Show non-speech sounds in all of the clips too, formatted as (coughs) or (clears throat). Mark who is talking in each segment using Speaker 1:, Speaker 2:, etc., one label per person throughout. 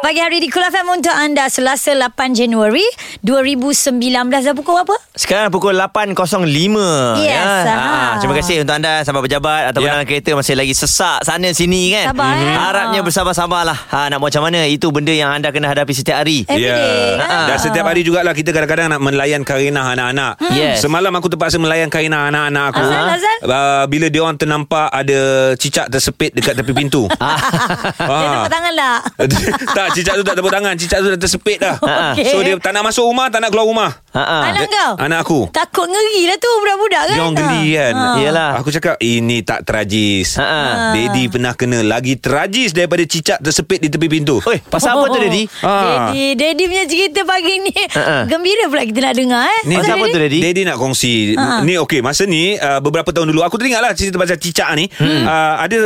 Speaker 1: Pagi hari di Kul FM untuk anda Selasa 8 Januari 2019 dah pukul apa?
Speaker 2: Sekarang pukul 8.05
Speaker 1: Yes,
Speaker 2: ya. Ah,
Speaker 1: aha.
Speaker 2: terima kasih untuk anda sahabat pejabat ataupun
Speaker 3: Ya.
Speaker 2: dalam kereta masih lagi sesak sana sini kan.
Speaker 1: Sabar, eh.
Speaker 2: Harapnya bersabar-sabarlah. Ha nak buat macam mana itu benda yang anda kena hadapi setiap hari.
Speaker 1: Eh. Every day, kan?
Speaker 3: Ya. Dan setiap hari jugalah kita kadang-kadang nak melayan karenah anak-anak.
Speaker 1: Hmm.
Speaker 2: Yes.
Speaker 3: Semalam aku terpaksa melayan karenah anak-anak aku.
Speaker 1: Azal, Azal?
Speaker 3: Uh, bila dia orang ternampak ada cicak tersepit dekat tepi
Speaker 1: (laughs)
Speaker 3: pintu.
Speaker 1: Ah.
Speaker 3: Ah.
Speaker 1: Dia tepuk tangan lah
Speaker 3: (laughs) tak, cicak tu tak tepuk tangan. Cicak tu dah tersepit
Speaker 1: (laughs)
Speaker 3: dah.
Speaker 1: Okey.
Speaker 3: So dia tak nak masuk rumah, tak nak keluar rumah.
Speaker 2: Ha ah.
Speaker 1: Anak
Speaker 3: Eh,
Speaker 1: kau?
Speaker 3: Anak aku.
Speaker 1: Takut ngeri lah tu budak-budak kan
Speaker 3: Dia orang geli kan
Speaker 2: Ha. Yelah.
Speaker 3: Aku cakap Ini tak tragis
Speaker 2: Ha,
Speaker 1: Ah.
Speaker 2: ha.
Speaker 3: Daddy pernah kena Lagi tragis daripada cicak tersepit Di tepi pintu
Speaker 2: Oi, pasal apa tu Dedi?
Speaker 3: Ha.
Speaker 1: Oh. Daddy, Daddy punya cerita pagi ni
Speaker 3: Uh-uh.
Speaker 2: Ha, ha.
Speaker 1: Gembira pula kita nak dengar eh
Speaker 2: Ni
Speaker 1: Pasal
Speaker 2: apa
Speaker 1: Daddy?
Speaker 2: tu Daddy?
Speaker 3: Daddy nak kongsi
Speaker 1: Ha.
Speaker 3: Ni okey Masa ni uh, Beberapa tahun dulu Aku teringat lah Cerita pasal cicak ni hmm. uh, Ada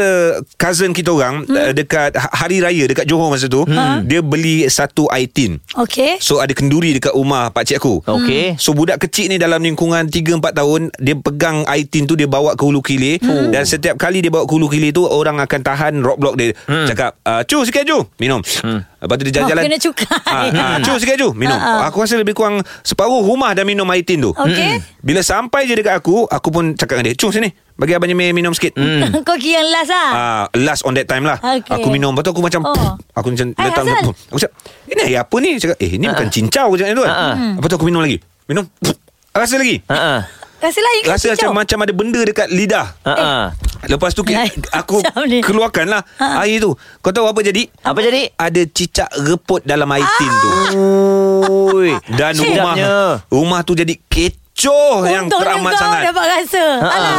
Speaker 3: Cousin kita orang uh, Dekat ha- Hari Raya Dekat Johor masa tu Dia beli Satu itin
Speaker 1: Okey
Speaker 3: So ada kenduri Dekat rumah pakcik
Speaker 2: Oh.
Speaker 3: aku
Speaker 1: Eh.
Speaker 2: Okey.
Speaker 1: Hmm.
Speaker 3: So budak kecil ni dalam lingkungan 3-4 tahun Dia pegang itin tu Dia bawa ke hulu kilir hmm.
Speaker 1: Oh.
Speaker 3: Dan setiap kali dia bawa ke hulu kilir tu Orang akan tahan roadblock dia hmm. Cakap uh, Cu sikit cu Minum hmm. Lepas tu dia jalan-jalan
Speaker 1: Oh, kena cukai.
Speaker 3: Ah, ah,
Speaker 1: (laughs)
Speaker 3: Cu sikit cu Minum
Speaker 1: Ah, ah.
Speaker 3: Aku rasa lebih kurang Separuh rumah dah minum itin tu Hmm.
Speaker 1: Okey.
Speaker 3: Bila sampai je dekat aku Aku pun cakap dengan dia Cu sini Bagi abang Jamil minum sikit hmm.
Speaker 1: (laughs) Kau kira yang last lah
Speaker 3: Ah, last on that time lah
Speaker 1: Okey.
Speaker 3: Aku minum Lepas tu aku macam
Speaker 1: Oh.
Speaker 3: Aku macam
Speaker 1: Hai,
Speaker 3: letak
Speaker 1: Azal.
Speaker 3: macam Aku cakap Ini air apa ni cakap, Eh
Speaker 2: Ah.
Speaker 3: ini bukan cincau Aku cakap macam tu kan
Speaker 1: Hmm.
Speaker 3: Lepas tu aku minum lagi Minum Rasa lagi
Speaker 2: Ha ah.
Speaker 1: Rasa lain ke
Speaker 3: Rasa
Speaker 1: kicau?
Speaker 3: macam macam ada benda dekat lidah
Speaker 2: Ha ah.
Speaker 1: Eh.
Speaker 3: Lepas tu ki-
Speaker 1: Lain
Speaker 3: Aku
Speaker 1: (laughs) macam ni. Ha.
Speaker 3: keluarkan lah Air tu Kau tahu apa jadi
Speaker 2: Apa jadi?
Speaker 3: Ada cicak reput dalam air tin tu
Speaker 1: Ah.
Speaker 2: Oi.
Speaker 3: Dan
Speaker 2: Sedapnya.
Speaker 3: rumah Rumah tu jadi kecoh Yang
Speaker 1: Untung
Speaker 3: teramat
Speaker 1: kau
Speaker 3: sangat
Speaker 1: dapat rasa Alah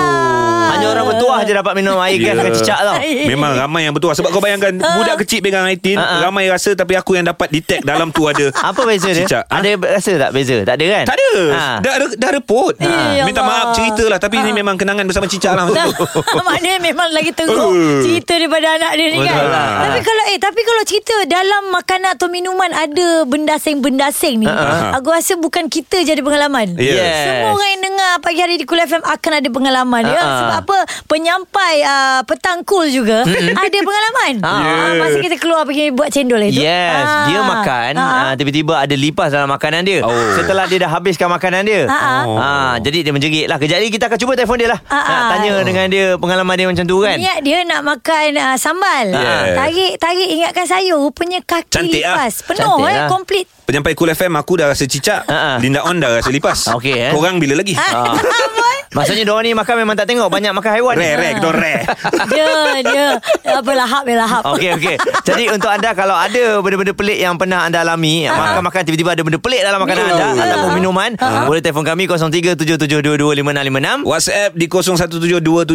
Speaker 2: Hanya orang bertuah
Speaker 1: (laughs)
Speaker 2: je dapat minum air gas
Speaker 3: Ya.
Speaker 2: dengan cicak tau. Ah.
Speaker 3: Memang ramai yang betul Sebab kau bayangkan Budak kecil pegang air tin
Speaker 2: Ha, ha.
Speaker 3: Ramai rasa Tapi aku yang dapat detect Dalam tu ada
Speaker 2: (laughs) Apa beza dia?
Speaker 3: Cicak, ha?
Speaker 2: Ada rasa tak beza? Tak ada kan?
Speaker 3: Tak ada
Speaker 2: Ha.
Speaker 3: dah, re- dah reput
Speaker 2: ya
Speaker 1: Eh,
Speaker 3: Minta
Speaker 1: Allah.
Speaker 3: maaf ceritalah Tapi
Speaker 2: Ah.
Speaker 3: ini memang kenangan bersama cicak
Speaker 2: (laughs)
Speaker 3: lah
Speaker 1: Tak, Maknanya memang lagi teruk
Speaker 3: Eh.
Speaker 1: cerita daripada anak dia ni kan.
Speaker 3: Betul lah.
Speaker 1: Tapi kalau eh tapi kalau cerita dalam makanan atau minuman ada bendasing-bendasing ni,
Speaker 3: ah.
Speaker 1: aku rasa bukan kita je ada pengalaman.
Speaker 3: Yes.
Speaker 1: Semua orang yang dengar pagi hari di Kul FM akan ada pengalaman ya.
Speaker 2: Ah, ah.
Speaker 1: Sebab apa? Penyampai uh, petang cool juga (laughs) ada pengalaman.
Speaker 2: Ah.
Speaker 1: Ah, masa kita keluar pergi buat cendol itu.
Speaker 2: Yes,
Speaker 1: Ah.
Speaker 2: dia makan
Speaker 1: Ah.
Speaker 2: ah, tiba-tiba ada lipas dalam makanan dia.
Speaker 3: Oh.
Speaker 2: Setelah dia dah habiskan makanan dia.
Speaker 1: Ah, ah.
Speaker 3: Oh.
Speaker 2: Ah, jadi dia menjerit lah. Kejap lagi kita akan cuba telefon dia lah.
Speaker 1: Ah,
Speaker 2: Nak
Speaker 1: ah.
Speaker 2: tanya dengan dia pengalaman dia macam tu kan.
Speaker 1: Niat dia nak makan uh, sambal.
Speaker 3: Yeah.
Speaker 1: Tarik tarik ingatkan saya rupanya kaki
Speaker 3: Cantik lah.
Speaker 1: lipas. Penuh
Speaker 2: Cantik
Speaker 1: eh
Speaker 2: lah.
Speaker 1: komplit.
Speaker 3: (laughs) Penyampai Cool FM Aku dah rasa cicak
Speaker 2: Ha, ha.
Speaker 3: Linda On dah rasa lipas
Speaker 2: Ah, okey, eh.
Speaker 3: Korang bila lagi
Speaker 1: (laughs) Ah.
Speaker 2: Maksudnya diorang ni makan memang tak tengok banyak makan haiwan.
Speaker 3: Rare
Speaker 1: Ah.
Speaker 3: rare Kita orang rare
Speaker 2: (laughs)
Speaker 1: dia dia apa lahap dia lahap.
Speaker 2: Okey okey. Jadi untuk anda kalau ada benda-benda pelik yang pernah anda alami,
Speaker 1: Ah,
Speaker 2: makan-makan tiba-tiba ada benda pelik dalam makanan anda
Speaker 3: Oh.
Speaker 2: ataupun minuman,
Speaker 1: Ah,
Speaker 2: boleh telefon kami 0377225656.
Speaker 3: WhatsApp di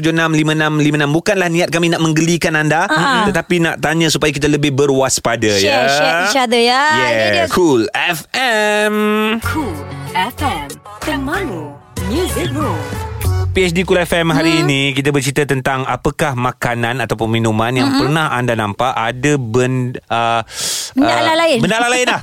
Speaker 3: 0172765656 bukanlah niat kami nak menggelikan anda
Speaker 2: Ah,
Speaker 1: Ha.
Speaker 3: tetapi nak tanya supaya kita lebih berwaspada
Speaker 1: Share,
Speaker 3: ya.
Speaker 1: share each other, ya. Ini
Speaker 3: Yeah,
Speaker 1: dia.
Speaker 3: cool FM.
Speaker 4: Cool FM, temanmu, muzikmu.
Speaker 3: PhD Kul FM hari hmm. ini kita bercerita tentang apakah makanan ataupun minuman yang
Speaker 1: Hmm?
Speaker 3: pernah anda nampak ada benda uh,
Speaker 1: Benda ala lain.
Speaker 3: Benda ala lain
Speaker 1: (laughs)
Speaker 3: lah.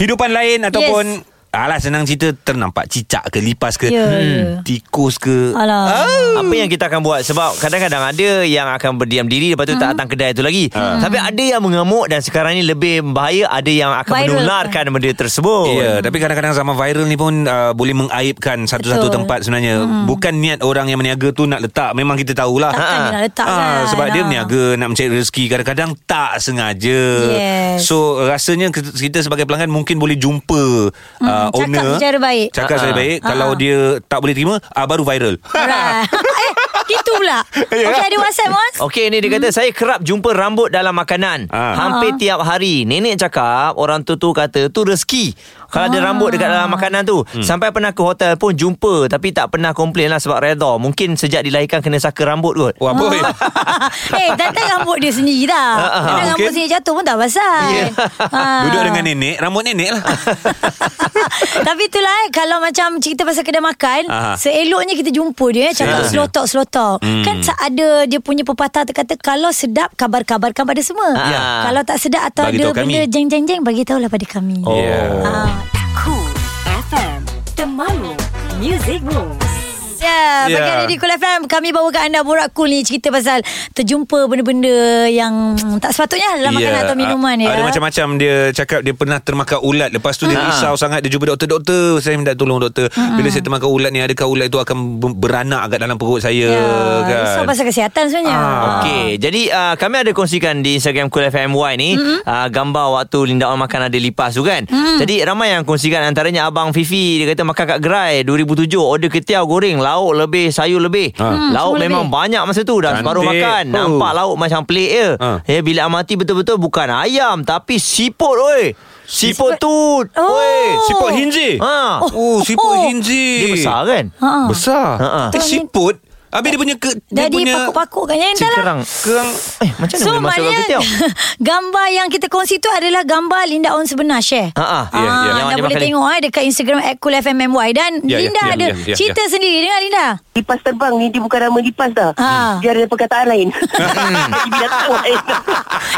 Speaker 3: Hidupan lain ataupun Alah senang cerita Ternampak cicak ke Lipas ke hmm,
Speaker 1: Ya, ya.
Speaker 3: Tikus ke
Speaker 1: Alah.
Speaker 2: Apa yang kita akan buat Sebab kadang-kadang ada Yang akan berdiam diri Lepas tu tak datang kedai tu lagi Hmm. Tapi ada yang mengamuk Dan sekarang ni lebih bahaya Ada yang akan
Speaker 1: Viral.
Speaker 2: menularkan benda tersebut
Speaker 3: Ya, yeah, tapi kadang-kadang zaman viral ni pun uh, boleh mengaibkan satu-satu
Speaker 1: Betul.
Speaker 3: tempat sebenarnya. Hmm. Bukan niat orang yang meniaga tu nak letak. Memang kita tahulah.
Speaker 1: Takkan dia nak letak kan.
Speaker 3: Sebab dia
Speaker 1: Ah.
Speaker 3: meniaga nak mencari rezeki. Kadang-kadang tak sengaja.
Speaker 1: Yes.
Speaker 3: So rasanya kita kita sebagai pelanggan mungkin boleh jumpa hmm, uh,
Speaker 1: cakap
Speaker 3: owner.
Speaker 1: secara baik.
Speaker 3: Cakap secara
Speaker 2: Ah.
Speaker 3: baik. Kalau dia tak boleh terima, uh, baru
Speaker 1: (laughs)
Speaker 3: viral.
Speaker 1: Alright. eh, gitu pula.
Speaker 3: Ya.
Speaker 1: Okey, ada WhatsApp Mas?
Speaker 2: Okey ni dia kata Saya kerap jumpa rambut dalam makanan
Speaker 3: Ah.
Speaker 2: Hampir tiap hari Nenek cakap Orang tu tu kata Tu rezeki Kalau ada rambut dekat dalam makanan tu Sampai pernah ke hotel pun jumpa Tapi tak pernah komplain lah Sebab reda Mungkin sejak dilahirkan Kena saka rambut kot
Speaker 3: Wah, apa? weh?
Speaker 1: (laughs) eh, datang rambut dia sendiri dah.
Speaker 2: Ah, ah,
Speaker 1: Kadang
Speaker 3: mungkin.
Speaker 1: rambut sendiri jatuh pun tak pasal.
Speaker 2: Ya.
Speaker 1: Ah.
Speaker 3: Duduk dengan nenek, rambut nenek lah.
Speaker 1: (laughs) Tapi itulah eh, Kalau macam cerita pasal kedai makan
Speaker 3: Aha.
Speaker 1: Seeloknya kita jumpa dia eh, Cakap
Speaker 3: Seeloknya.
Speaker 1: slow talk, slow talk hmm. Kan sa- ada dia punya pepatah tu Kata kalau sedap kabar-kabarkan pada semua
Speaker 2: Ya.
Speaker 1: Kalau tak sedap atau
Speaker 3: Ah. Bagi
Speaker 1: ada
Speaker 3: tahu kami.
Speaker 1: benda jeng-jeng-jeng Bagi tahulah pada kami
Speaker 2: Oh.
Speaker 3: Yeah.
Speaker 1: Ah.
Speaker 4: Cool Music Rules.
Speaker 1: Ya, yeah.
Speaker 3: Ya.
Speaker 1: pagi di Kul FM kami bawa ke anda borak cool ni cerita pasal terjumpa benda-benda yang mm, tak sepatutnya dalam yeah. makanan atau minuman ya.
Speaker 3: Ada macam-macam dia cakap dia pernah termakan ulat. Lepas tu dia
Speaker 2: Ha.
Speaker 3: risau sangat dia jumpa doktor. Doktor, saya minta tolong doktor.
Speaker 1: Ha.
Speaker 3: Bila saya termakan ulat ni adakah ulat itu akan ber- beranak kat dalam perut saya
Speaker 1: Ya,
Speaker 3: kan.
Speaker 1: risau pasal kesihatan sebenarnya.
Speaker 3: Ah,
Speaker 1: Ah.
Speaker 2: Okey, jadi uh, kami ada kongsikan di Instagram Cool FMY ni mm-hmm. uh, gambar waktu Linda On makan ada lipas tu kan.
Speaker 1: Mm-hmm.
Speaker 2: Mm. Jadi ramai yang kongsikan antaranya abang Fifi dia kata makan kat gerai 2007 order ketiau goreng lauk lebih sayur lebih.
Speaker 3: Ha.
Speaker 2: Mm, lauk
Speaker 1: Ah. semua
Speaker 2: memang
Speaker 1: lebih.
Speaker 2: banyak masa tu dah
Speaker 3: Cantik.
Speaker 2: separuh makan.
Speaker 3: Oh.
Speaker 2: Nampak lauk macam pelik je.
Speaker 3: Ha.
Speaker 2: Eh bila amati betul-betul bukan ayam tapi siput oi. Siput,
Speaker 1: Siput.
Speaker 2: tu.
Speaker 1: Oh.
Speaker 2: Oi.
Speaker 3: Eh, Siput hinji.
Speaker 2: Ha.
Speaker 3: Oh, siput
Speaker 1: Oh.
Speaker 3: hinji.
Speaker 2: Dia besar kan?
Speaker 1: Ha.
Speaker 3: Besar.
Speaker 2: Ha-ha.
Speaker 3: Eh, siput. Habis dia punya ke, dia
Speaker 1: Jadi
Speaker 3: punya
Speaker 1: pakuk-pakuk kan yang dalam.
Speaker 2: Kerang.
Speaker 3: (laughs) kerang
Speaker 2: Eh macam mana boleh
Speaker 1: So
Speaker 2: masuk kat
Speaker 1: maknanya
Speaker 2: ketiau?
Speaker 1: (laughs) gambar yang kita kongsi tu adalah gambar Linda On sebenar share.
Speaker 2: Ha, ha. Ya,
Speaker 1: Ah,
Speaker 2: ya. Yang
Speaker 1: Anda
Speaker 2: dia
Speaker 1: boleh
Speaker 2: makan ni.
Speaker 1: tengok eh dekat Instagram @coolfmmy dan
Speaker 3: Ya, ya,
Speaker 1: Linda
Speaker 3: ya,
Speaker 1: ada
Speaker 3: ya, ya,
Speaker 1: cerita sendiri dengan
Speaker 2: (laughs)
Speaker 1: Linda.
Speaker 5: Lipas terbang ni dia bukan nama lipas dah.
Speaker 1: Ha.
Speaker 5: Dia ada perkataan
Speaker 3: (laughs)
Speaker 5: lain. Jadi binatang lain.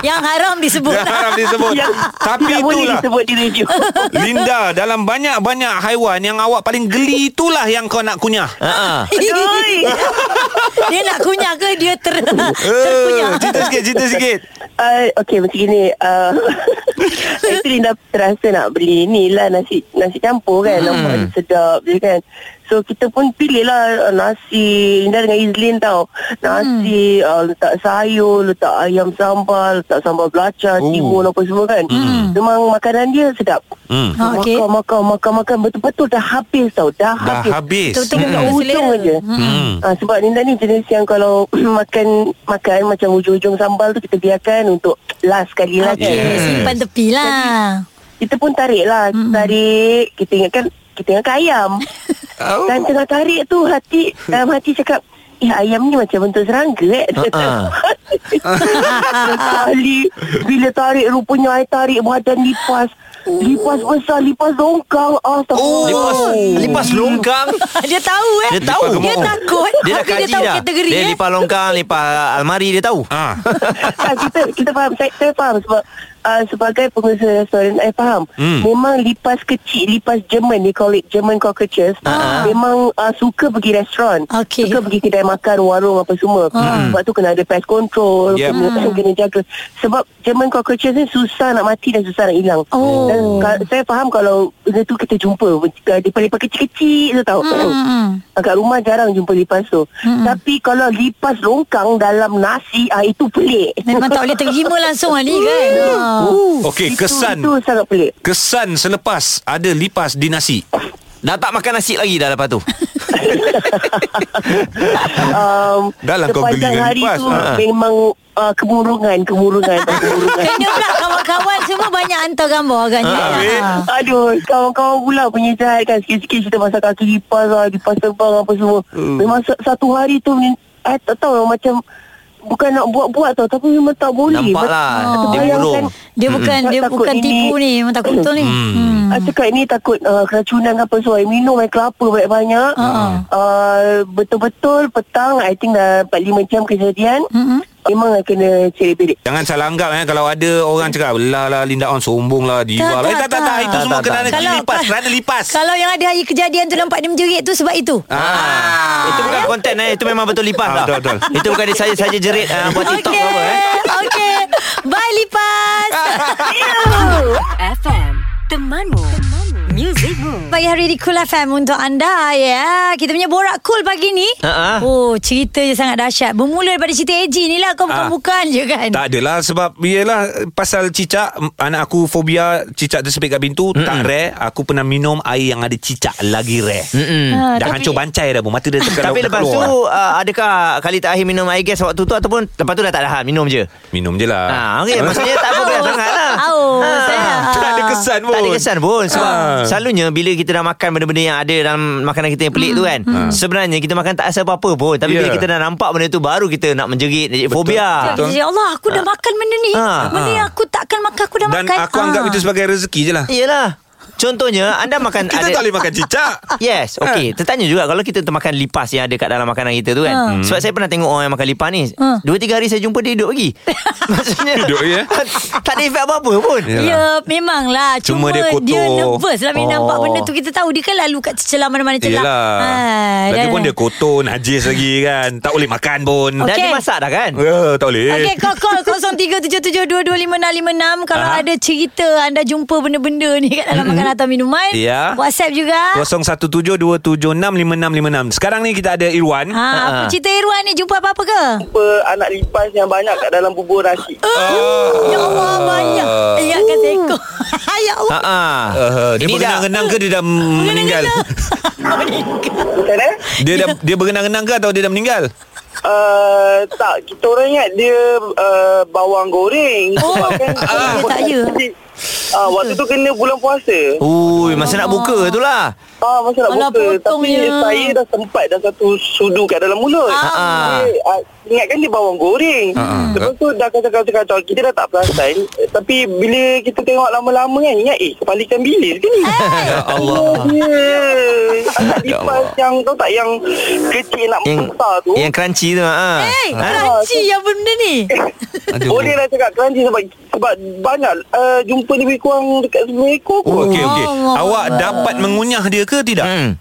Speaker 1: Yang haram disebut.
Speaker 3: Yang
Speaker 2: Ya.
Speaker 3: haram disebut
Speaker 5: eh."
Speaker 1: Ya.
Speaker 5: Yang
Speaker 3: Tapi
Speaker 5: tidak boleh
Speaker 3: itulah
Speaker 5: disebut di radio.
Speaker 3: Linda Dalam banyak-banyak haiwan Yang awak paling geli Itulah yang kau nak kunyah
Speaker 2: Ha.
Speaker 5: Oi.
Speaker 1: (laughs) dia nak kunyah ke dia
Speaker 2: (laughs)
Speaker 1: ter
Speaker 2: Ya.
Speaker 1: terkunyah.
Speaker 3: Eh, Cerita sikit Cerita sikit
Speaker 5: Uh, okay macam gini uh, (laughs) Actually dah terasa nak beli ni lah nasi, nasi campur kan Nampak dia sedap je kan So kita pun pilih lah uh, nasi Linda dengan Izlin tau Nasi uh, letak sayur Letak ayam sambal Letak sambal belacan
Speaker 3: Oh.
Speaker 5: Timun apa semua kan Memang makanan dia sedap
Speaker 3: Hmm.
Speaker 1: Ha, okey.
Speaker 5: Makan makan makan makan Betul-betul dah habis tau Dah,
Speaker 3: Dah
Speaker 5: habis
Speaker 3: habis
Speaker 1: Betul-betul
Speaker 5: Kat
Speaker 1: Hmm.
Speaker 5: hujung
Speaker 1: Selera.
Speaker 5: aja
Speaker 3: Hmm.
Speaker 5: ha, Sebab Linda ni jenis yang kalau (clears throat) makan Makan macam hujung-hujung sambal tu Kita biarkan untuk last sekali lah
Speaker 1: Okey,
Speaker 5: kan
Speaker 1: simpan tepi lah.
Speaker 5: Kita pun tarik lah mm Tarik Kita ingatkan Kita ingatkan
Speaker 2: (laughs)
Speaker 5: ayam
Speaker 3: Oh.
Speaker 5: Dan tengah tarik tu hati Dalam hati cakap Eh ayam ni macam bentuk serangga eh
Speaker 2: Ha-ha.
Speaker 5: (laughs) Sekali Bila tarik rupanya I tarik badan lipas Lipas besar Lipas dongkang Astagfirullah
Speaker 2: Lipas lipas longkang.
Speaker 1: dia tahu eh.
Speaker 2: Oh. Dia tahu.
Speaker 1: Dia takut.
Speaker 2: Dia dah
Speaker 1: tapi
Speaker 2: kaji
Speaker 1: dia tahu
Speaker 2: dah.
Speaker 1: kategori
Speaker 2: dia
Speaker 1: eh.
Speaker 2: lipas longkang, lipas almari dia tahu.
Speaker 3: Ah.
Speaker 5: Ah, kita kita faham saya, saya faham sebab uh, sebagai pengusaha restoran saya faham
Speaker 3: Hmm.
Speaker 5: memang lipas kecil lipas Jerman they call it German cockroaches
Speaker 2: Ah.
Speaker 5: memang uh, suka pergi restoran
Speaker 1: Okey. Ah.
Speaker 5: suka pergi kedai makan warung apa semua Hmm. sebab tu kena ada pest control
Speaker 3: Yep.
Speaker 5: kena,
Speaker 1: Hmm.
Speaker 5: kena jaga sebab German cockroaches ni susah nak mati dan susah nak hilang
Speaker 1: Oh.
Speaker 5: dan ka- saya faham kalau benda tu kita jumpa lipas-lipas kecil-kecil tu tau
Speaker 1: Hmm.
Speaker 5: Kat rumah jarang jumpa lipas tu hmm. Tapi kalau lipas longkang dalam nasi ah, Itu pelik Uh,
Speaker 1: Memang
Speaker 5: (laughs)
Speaker 1: tak boleh terima langsung Ali kan. Ha.
Speaker 3: Okey kesan
Speaker 5: Itu, itu sangat pelik
Speaker 3: Kesan selepas Ada lipas di nasi
Speaker 2: Dah tak makan nasi lagi dah lepas tu.
Speaker 5: um,
Speaker 3: Dah lah kau geli
Speaker 5: Sepanjang
Speaker 3: dengan
Speaker 5: hari
Speaker 3: lipas.
Speaker 5: tu
Speaker 3: Ha.
Speaker 5: Memang uh, kemurungan
Speaker 1: (laughs)
Speaker 5: Kemurungan tak Kemurungan
Speaker 1: Kena pula kawan-kawan semua banyak hantar gambar agaknya.
Speaker 3: Ah, habis?
Speaker 1: Ha.
Speaker 5: Aduh Kawan-kawan pula punya jahat kan Sikit-sikit cerita pasal kaki lipas lah Lipas terbang apa semua
Speaker 3: Uh.
Speaker 5: hmm. Memang sa- satu hari tu ni, I tak tahu lah macam Bukan nak buat-buat tau Tapi memang tak boleh
Speaker 2: Nampak lah.
Speaker 5: Macam-
Speaker 2: Dia
Speaker 5: Bayangkan-
Speaker 2: burung.
Speaker 1: Dia bukan
Speaker 5: Mm-mm.
Speaker 1: dia
Speaker 5: Takut
Speaker 1: bukan
Speaker 5: ini-
Speaker 1: tipu ni, memang takut betul ni.
Speaker 2: Mm.
Speaker 1: Hmm.
Speaker 6: Ah,
Speaker 5: Hmm. Cakap ni takut uh, keracunan ke apa so I minum air kelapa banyak-banyak
Speaker 1: Ha-ha.
Speaker 6: Ah,
Speaker 5: uh, Betul-betul petang I think dah 45 jam kejadian
Speaker 1: Mm-mm.
Speaker 5: Memang
Speaker 6: lah
Speaker 5: I kena cerit-berit
Speaker 3: Jangan salah anggap eh Kalau ada orang cakap Lah lah Linda on sombong lah Diva
Speaker 1: Tak,
Speaker 3: lah Eh, tak
Speaker 1: tak,
Speaker 3: tak tak
Speaker 1: tak.
Speaker 3: Itu
Speaker 2: Tak,
Speaker 3: semua
Speaker 2: tak, tak.
Speaker 3: kerana lipas Kerana lipas
Speaker 1: Kalau yang ada hari kejadian tu nampak dia menjerit tu sebab itu.
Speaker 2: Ah. Itu bukan konten eh. Itu memang betul lipas
Speaker 3: Ah,
Speaker 2: lah.
Speaker 3: betul, betul.
Speaker 2: Itu bukan dia saya saja jerit ah, buat TikTok
Speaker 1: Okey.
Speaker 2: okay. apa eh.
Speaker 1: (laughs) Okey. Bye
Speaker 2: (laughs)
Speaker 1: lipas.
Speaker 4: FM, temanmu. temanmu. Music Room.
Speaker 1: Pagi hari di Cool FM untuk anda ya. Kita punya borak cool pagi ni.
Speaker 2: Ha-ha.
Speaker 1: Oh, cerita je sangat dahsyat. Bermula daripada cerita AJ ni lah kau
Speaker 2: Ah.
Speaker 1: bukan-bukan je kan.
Speaker 3: Tak adalah sebab Yelah pasal cicak m- Anak aku fobia Cicak tersepit kat pintu Mm-mm. Tak rare Aku pernah minum air yang ada cicak Lagi rare
Speaker 2: Mm-mm.
Speaker 1: Ah,
Speaker 3: Dah
Speaker 1: tapi-
Speaker 3: hancur bancai dah pun Mata dia tekan
Speaker 2: Tapi
Speaker 3: dah
Speaker 2: lepas tu
Speaker 3: keluar.
Speaker 2: uh, adakah kali terakhir minum air gas waktu tu ataupun lepas tu dah tak tahan minum je.
Speaker 3: Minum je lah
Speaker 2: Ah, okey maksudnya tak (laughs) apa
Speaker 1: Aus.
Speaker 2: sangat lah.
Speaker 1: Aus, eh.
Speaker 3: Tak ada kesan pun
Speaker 2: Tak ada kesan pun Sebab
Speaker 3: Ah.
Speaker 2: selalunya Bila kita dah makan Benda-benda yang ada Dalam makanan kita yang pelik tu kan
Speaker 3: Ah.
Speaker 2: Sebenarnya kita makan Tak rasa apa-apa pun Tapi bila
Speaker 3: Yeah.
Speaker 2: kita dah nampak Benda tu baru kita Nak menjerit Jadi fobia
Speaker 3: Ya. Betul.
Speaker 1: Ya Allah aku dah makan benda ni
Speaker 2: Ah,
Speaker 1: Benda
Speaker 2: ah.
Speaker 1: yang aku takkan makan Aku dah
Speaker 3: Dan
Speaker 1: makan
Speaker 3: aku anggap
Speaker 1: Ah.
Speaker 3: itu sebagai rezeki je lah
Speaker 2: Yelah Contohnya anda makan
Speaker 3: Kita tak boleh Ah. makan cicak
Speaker 2: Yes Okay Tertanya juga Kalau kita termakan lipas Yang ada kat dalam makanan kita tu kan
Speaker 1: Ha.
Speaker 2: Sebab saya pernah tengok Orang yang makan lipas ni
Speaker 1: Ha.
Speaker 2: Dua tiga hari saya jumpa Dia hidup lagi Maksudnya
Speaker 3: Hidup lagi, eh?
Speaker 2: (laughs) Tak ada efek apa-apa pun
Speaker 3: Ya.
Speaker 1: Ya, ya memanglah
Speaker 3: Cuma
Speaker 1: Cuma,
Speaker 3: dia kotor.
Speaker 1: dia nervous lah Bila
Speaker 2: Oh.
Speaker 1: oh. nampak benda tu Kita tahu dia kan lalu kat celah mana-mana celah Ha,
Speaker 3: Yelah Lagi
Speaker 1: dah-
Speaker 3: lah. pun dia kotor Najis lagi kan Tak boleh makan pun
Speaker 2: Dan
Speaker 1: Okey.
Speaker 2: dia masak dah kan
Speaker 3: Eh, Tak boleh
Speaker 1: Okey, call call 0377225656 kalau
Speaker 2: Aha.
Speaker 1: ada cerita anda jumpa benda-benda ni kat dalam makanan atau minuman.
Speaker 3: Ya.
Speaker 1: WhatsApp juga.
Speaker 3: 0172765656 Sekarang ni kita ada Irwan
Speaker 1: Ha, apa
Speaker 2: Ha.
Speaker 1: cerita Irwan ni jumpa apa-apa ke?
Speaker 6: Apa anak lipas yang banyak kat dalam bubur nasi.
Speaker 1: Ya Allah banyak. Ya kan seekor. ya Allah.
Speaker 2: Ha ah.
Speaker 3: Uh, dia
Speaker 2: Ini dah
Speaker 3: berenang-renang ke dia dah meninggal?
Speaker 6: Macam mana?
Speaker 3: Dia dah dia berenang-renang ke atau dia dah meninggal?
Speaker 6: Uh, tak, kita orang ingat dia uh, bawang goreng.
Speaker 1: Oh.
Speaker 6: Sebab kan-
Speaker 1: Ah. Dia tak ya.
Speaker 6: Ah, waktu tu kena bulan puasa.
Speaker 2: Ui, masa nak buka tu lah
Speaker 6: Ah, masa nak
Speaker 1: Alah,
Speaker 6: buka Tapi
Speaker 1: potongnya.
Speaker 6: saya dah sempat Dah satu sudu kat dalam mulut
Speaker 2: Ah.
Speaker 6: Saya, ah, Ingatkan dia bawang goreng
Speaker 3: Ah.
Speaker 6: Lepas tu dah kacau-kacau Kita dah tak perasan Eh, Tapi bila kita tengok lama-lama kan Ingat eh kepala ikan bilis ke
Speaker 1: Eh.
Speaker 6: ni
Speaker 3: (laughs) Ya Allah. Ya
Speaker 6: Ya Anak lipas yang Kau tak yang Kecil nak
Speaker 2: Yang
Speaker 6: besar tu
Speaker 2: yang crunchy tu ha.
Speaker 1: Hey,
Speaker 2: Ha?
Speaker 1: crunchy yang benda ni.
Speaker 3: Aduh.
Speaker 6: Boleh lah cakap crunchy sebab sebab banyak uh, jumpa lebih kurang dekat 10 ekor kot.
Speaker 3: Oh, okey okey.
Speaker 1: Allah
Speaker 3: Awak
Speaker 1: Allah.
Speaker 3: dapat mengunyah dia ke tidak?
Speaker 2: Hmm.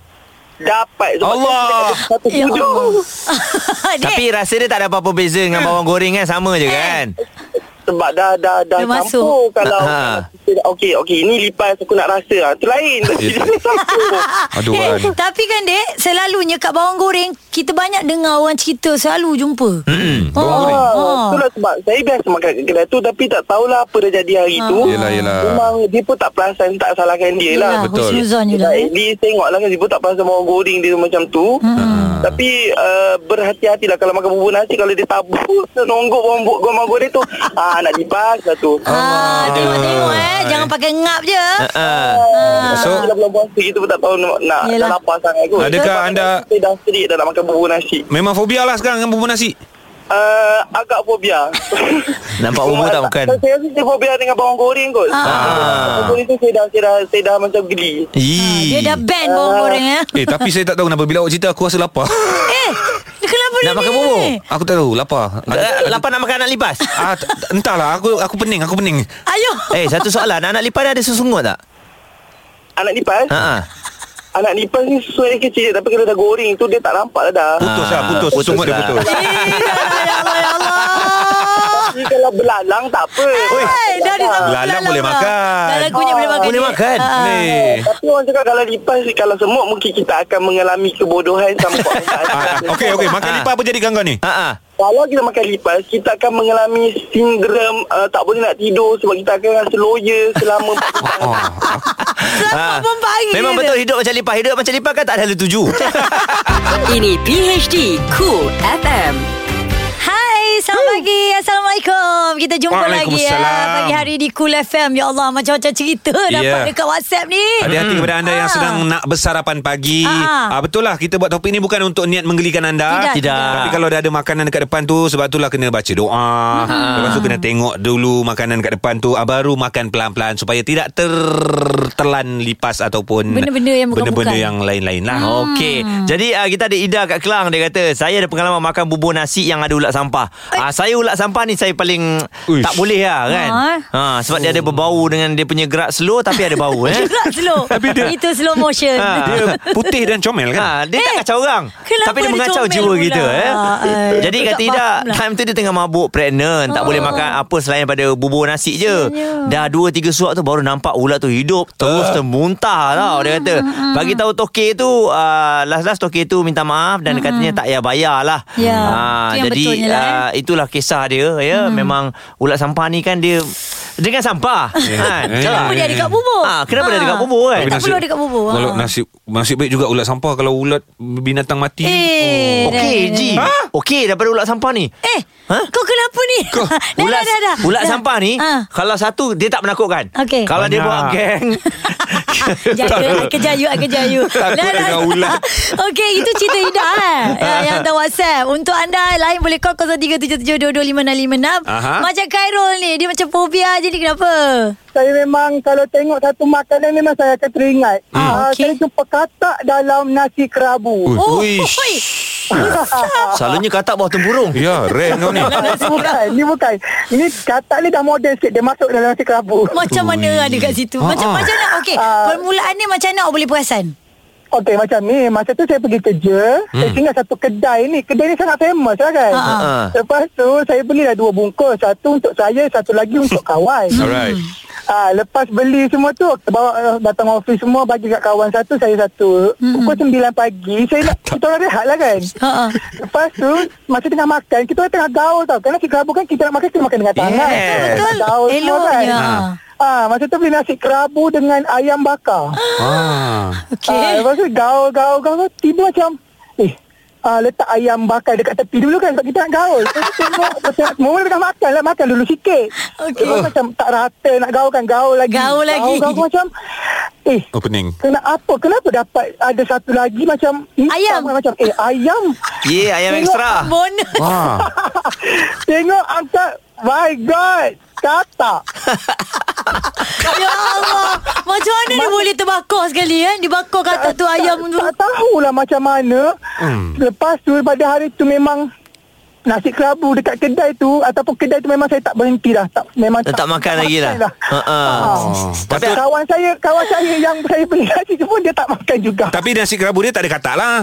Speaker 6: Dapat sebab
Speaker 3: Allah.
Speaker 6: kita ada Satu
Speaker 1: Ya
Speaker 6: sudu.
Speaker 1: Allah. (laughs) Dek, Eh.
Speaker 2: Tapi rasa dia tak ada apa-apa beza dengan bawang goreng kan sama je kan.
Speaker 6: Sebab dah dah dah
Speaker 1: Dia masuk.
Speaker 6: campur kalau
Speaker 2: Ha.
Speaker 6: kita okey okey ini lipas aku nak rasa ah tu lain Ah, tapi (laughs) dia dah campur.
Speaker 3: Aduh.
Speaker 1: Eh,
Speaker 3: Wan.
Speaker 1: (laughs) tapi kan dek Selalunya kat bawang goreng Kita banyak dengar orang cerita Selalu jumpa hmm,
Speaker 3: bawang goreng.
Speaker 6: Ah, itulah sebab saya biasa makan kat kedai tu tapi tak tahulah apa dah jadi hari tu.
Speaker 3: Yelah, yelah.
Speaker 6: Memang dia pun tak perasan tak salahkan dia lah.
Speaker 1: Yelah,
Speaker 3: betul.
Speaker 1: Husnuzon je lah
Speaker 6: Dia,
Speaker 1: eh.
Speaker 6: dia tengok lah kan Dia pun tak perasan bawang goreng dia macam tu hmm. Tapi uh, berhati-hatilah Kalau makan bubur nasi Kalau dia tabur (laughs) Nonggok bawang, bo- bawang goreng tu (laughs) ah, Nak lipas lah tu
Speaker 1: Ah, tengok-tengok eh Jangan pakai ngap je
Speaker 2: Ha.
Speaker 6: Ah,
Speaker 3: So-
Speaker 6: so, bulan puasa kita pun tak tahu nak, nak
Speaker 1: Yelah.
Speaker 6: dah lapar sangat kot.
Speaker 3: Adakah
Speaker 6: Sebab
Speaker 3: anda-
Speaker 6: Saya dah serik dah nak makan bubur nasi.
Speaker 3: Memang fobia lah sekarang dengan bubur nasi.
Speaker 6: Uh, agak fobia.
Speaker 2: (laughs) Nampak bubur tak makan?
Speaker 6: Saya rasa saya fobia dengan bawang goreng kot. Ah. Bawang goreng tu saya dah, saya dah, saya dah macam geli.
Speaker 5: Ah,
Speaker 2: Ih.
Speaker 1: Dia dah ban bawang goreng eh (laughs)
Speaker 3: Eh tapi saya tak tahu kenapa bila awak cerita aku rasa lapar.
Speaker 1: Eh dia Kenapa
Speaker 2: Nak
Speaker 1: dia
Speaker 2: makan
Speaker 1: ni?
Speaker 2: bubur?
Speaker 3: Aku tak tahu lapar.
Speaker 2: Eh, Lapar nak makan anak lipas.
Speaker 3: Ah, t- t- entahlah aku aku pening aku pening.
Speaker 1: Ayuh
Speaker 2: Eh, satu soalan. Anak lipas dia ada susungut tak?
Speaker 6: Anak lipas?
Speaker 2: Ha ah.
Speaker 6: Anak lipas ni susu dia kecil tapi kalau dah goreng tu dia tak nampak lah dah.
Speaker 3: Putus
Speaker 2: Ah,
Speaker 3: lah putus.
Speaker 2: putus
Speaker 3: Sungut dia
Speaker 2: lah.
Speaker 3: putus.
Speaker 1: Eh, Ya Allah ya Allah
Speaker 6: Tapi kalau belalang tak apa.
Speaker 2: Ah.
Speaker 1: Eh, dah dia sambung
Speaker 3: Lalang
Speaker 1: belalang
Speaker 3: boleh
Speaker 1: dah.
Speaker 3: makan.
Speaker 1: Dah lagunya boleh makan
Speaker 2: Boleh
Speaker 1: dek.
Speaker 2: makan.
Speaker 1: Ah.
Speaker 3: Ni.
Speaker 6: Tapi orang cakap kalau lipas kalau semut mungkin kita akan mengalami kebodohan
Speaker 3: (laughs)
Speaker 6: sama
Speaker 3: Ah,
Speaker 6: perasaan.
Speaker 3: Okey okey makan lipat apa jadi gangguan ni?
Speaker 2: Ha ah.
Speaker 6: Kalau kita makan lipas, kita akan mengalami sindrom
Speaker 7: eh,
Speaker 6: uh, tak boleh nak tidur sebab kita akan rasa loya selama
Speaker 3: Oh,
Speaker 2: Ah.
Speaker 1: Selamat pagi
Speaker 2: Memang
Speaker 1: dia.
Speaker 2: betul hidup macam lipas. Hidup macam lipas kan tak ada
Speaker 1: (laughs)
Speaker 2: tuju.
Speaker 8: Ini PHD Cool FM.
Speaker 1: Hai, selamat pagi. Assalamuaikum. Kita jumpa lagi ya
Speaker 3: Waalaikumsalam.
Speaker 1: pagi hari di Cool FM. Ya Allah, macam-macam cerita
Speaker 3: Ya.
Speaker 1: dapat dekat WhatsApp ni.
Speaker 3: Hati-hati kepada anda yang
Speaker 1: Ah.
Speaker 3: sedang nak bersarapan pagi.
Speaker 1: Ah.
Speaker 3: Ah. betul lah kita buat topik ni bukan untuk niat menggelikan anda.
Speaker 1: Tidak, Tidak.
Speaker 2: tidak.
Speaker 3: Tapi kalau dah ada makanan dekat depan tu sebab itulah kena baca doa.
Speaker 1: Hmm.
Speaker 3: Lepas
Speaker 1: Ah.
Speaker 3: tu kena tengok dulu makanan dekat depan tu ah, baru makan pelan-pelan supaya tidak tertelan lipas ataupun
Speaker 1: Benda-benda yang bukan-bukan. Hmm.
Speaker 3: benda-benda yang lain-lain lah.
Speaker 2: Okey. Jadi uh, kita ada Ida kat Kelang dia kata, saya ada pengalaman makan bubur nasi yang ada ulat sampah. Ah uh, saya ulat sampah ni saya paling
Speaker 3: Uish.
Speaker 2: tak boleh lah kan. Ha sebab dia ada berbau dengan dia punya gerak slow tapi ada bau eh.
Speaker 1: Gerak slow. Itu slow motion.
Speaker 2: Ah.
Speaker 3: Dia putih dan comel kan?
Speaker 1: Ah.
Speaker 2: Ha, dia eh, tak kacau orang
Speaker 1: kenapa
Speaker 2: Tapi dia
Speaker 1: dia
Speaker 2: mengacau
Speaker 1: comel
Speaker 2: jiwa
Speaker 1: pula?
Speaker 2: kita eh.
Speaker 1: Ay,
Speaker 2: Jadi
Speaker 1: aku
Speaker 2: kata
Speaker 1: tak
Speaker 2: Ida
Speaker 1: faham Ah. lah.
Speaker 2: Time tu dia tengah mabuk Pregnant Tak boleh makan apa Selain pada bubur nasi je Dah dua tiga suap tu Baru nampak ulat tu hidup Terus termuntah tau Dia kata
Speaker 1: Hmm,
Speaker 2: Bagi tahu toke tu uh, Last-last toke tu minta maaf Dan katanya tak payah bayar lah
Speaker 1: Hmm, Ya,
Speaker 2: Ah,
Speaker 1: tu yang
Speaker 2: Jadi
Speaker 1: betulnya lah, Hmm.
Speaker 2: ah, itulah kisah dia ya. Memang ulat sampah ni kan dia Dengan (laughs) sampah kan?
Speaker 3: Eh.
Speaker 1: Kenapa dia ada kat bubur?
Speaker 2: Ah, kenapa dia ada kat bubur, kan?
Speaker 1: Tak
Speaker 3: Tapi
Speaker 1: perlu
Speaker 3: nasib-
Speaker 1: ada kat bubur.
Speaker 3: Kalau
Speaker 1: Ah.
Speaker 3: nasib nasib baik juga ulat sampah kalau ulat binatang mati. oh.
Speaker 1: Eh, dah,
Speaker 2: Okey
Speaker 1: dah,
Speaker 2: Ji
Speaker 1: dah.
Speaker 2: Okey daripada ulat sampah ni
Speaker 1: Eh,
Speaker 2: Ha?
Speaker 1: kau kenapa ni? (laughs) Kau,
Speaker 2: ulat, ulat sampah ni (laughs)
Speaker 1: Ah.
Speaker 2: Kalau satu Dia tak menakutkan
Speaker 1: Okey.
Speaker 2: Kalau dia
Speaker 3: Banyak.
Speaker 2: buat geng
Speaker 1: Jaga kejayu kejayu.
Speaker 2: (laughs)
Speaker 3: Takut dengan ular.
Speaker 1: (laughs) Okey, itu cerita Ida eh.
Speaker 2: Ha.
Speaker 1: Ya, yang hantar WhatsApp. Untuk anda lain boleh call 0377225656.
Speaker 3: Aha.
Speaker 1: Macam Khairul ni, dia macam fobia teringat jadi kenapa?
Speaker 7: Saya memang kalau tengok satu makanan memang saya akan teringat.
Speaker 1: Ah,
Speaker 7: Ah,
Speaker 1: okey.
Speaker 7: Saya jumpa katak dalam nasi kerabu.
Speaker 3: Ui.
Speaker 1: Oh,
Speaker 2: Uish.
Speaker 1: hoi.
Speaker 2: Selalunya katak bawah
Speaker 1: (laughs)
Speaker 2: temburung.
Speaker 3: Ya, rare kau ni.
Speaker 7: Ini (laughs) bukan, ini bukan. Ini katak ni dah moden sikit. Dia masuk dalam nasi kerabu.
Speaker 1: (laughs) Macam mana ada kat situ? Macam
Speaker 3: Ha, ha.
Speaker 1: macam nak okey.
Speaker 7: Ah.
Speaker 1: Permulaan ni macam nak awak boleh perasan.
Speaker 7: Okey macam ni Masa tu saya pergi kerja hmm. Saya tinggal satu kedai ni Kedai ni sangat famous lah kan
Speaker 1: Ha,
Speaker 2: ha.
Speaker 7: Lepas tu Saya belilah dua bungkus Satu untuk saya Satu lagi untuk kawan
Speaker 3: Alright.
Speaker 7: ha, Lepas beli semua tu bawa, eh, Datang office semua Bagi kat kawan satu Saya satu hmm. Pukul 9 pagi Saya nak Kita orang rehat lah kan
Speaker 1: Ha ah.
Speaker 7: Lepas tu Masa tengah makan Kita orang tengah gaul tau Kerana kita kerabu kan Kita nak makan Kita makan dengan tangan
Speaker 2: Yes.
Speaker 1: Betul.
Speaker 7: Gaul semua kan
Speaker 1: Eloknya.
Speaker 7: Ah, masa tu beli nasi kerabu dengan ayam bakar.
Speaker 3: Ah.
Speaker 1: (laughs)
Speaker 7: Ah,
Speaker 1: Okey.
Speaker 7: lepas tu gaul, gaul, gaul. Tiba macam, eh, ah, letak ayam bakar dekat tepi dulu kan sebab kita nak gaul. Lepas tu tengok, (laughs) lepas tu semua orang tengah makan lah. Makan dulu sikit.
Speaker 1: Okey.
Speaker 7: Lepas tu macam tak rata nak gaul kan. Gaul lagi.
Speaker 1: Gaul lagi.
Speaker 7: Gaul, gaul macam, eh,
Speaker 3: Oh, pening.
Speaker 7: kena apa? Kenapa dapat ada satu lagi macam hitam
Speaker 1: Ayam.
Speaker 7: kan? Macam, eh, ayam.
Speaker 2: Ye, yeah, ayam ekstra.
Speaker 1: Bonus.
Speaker 3: Wah.
Speaker 7: Tengok angkat. My God. Katak.
Speaker 1: (laughs) Ya Allah. Macam mana dia boleh terbakar sekali kan? Dia bakar katak tu ayam tu.
Speaker 7: Tak tahulah macam mana
Speaker 3: Hmm.
Speaker 7: hmm. Lepas tu pada hari tu memang Nasi kerabu dekat kedai tu Ataupun kedai tu memang saya tak berhenti dah tak, Memang
Speaker 2: Tak makan lagi lah. Ha, ha.
Speaker 7: Ah.
Speaker 2: Tapi
Speaker 7: Kawan saya Kawan saya yang saya beli (laughs) nasi tu pun Dia tak makan juga
Speaker 3: Tapi nasi kerabu dia tak ada katak lah.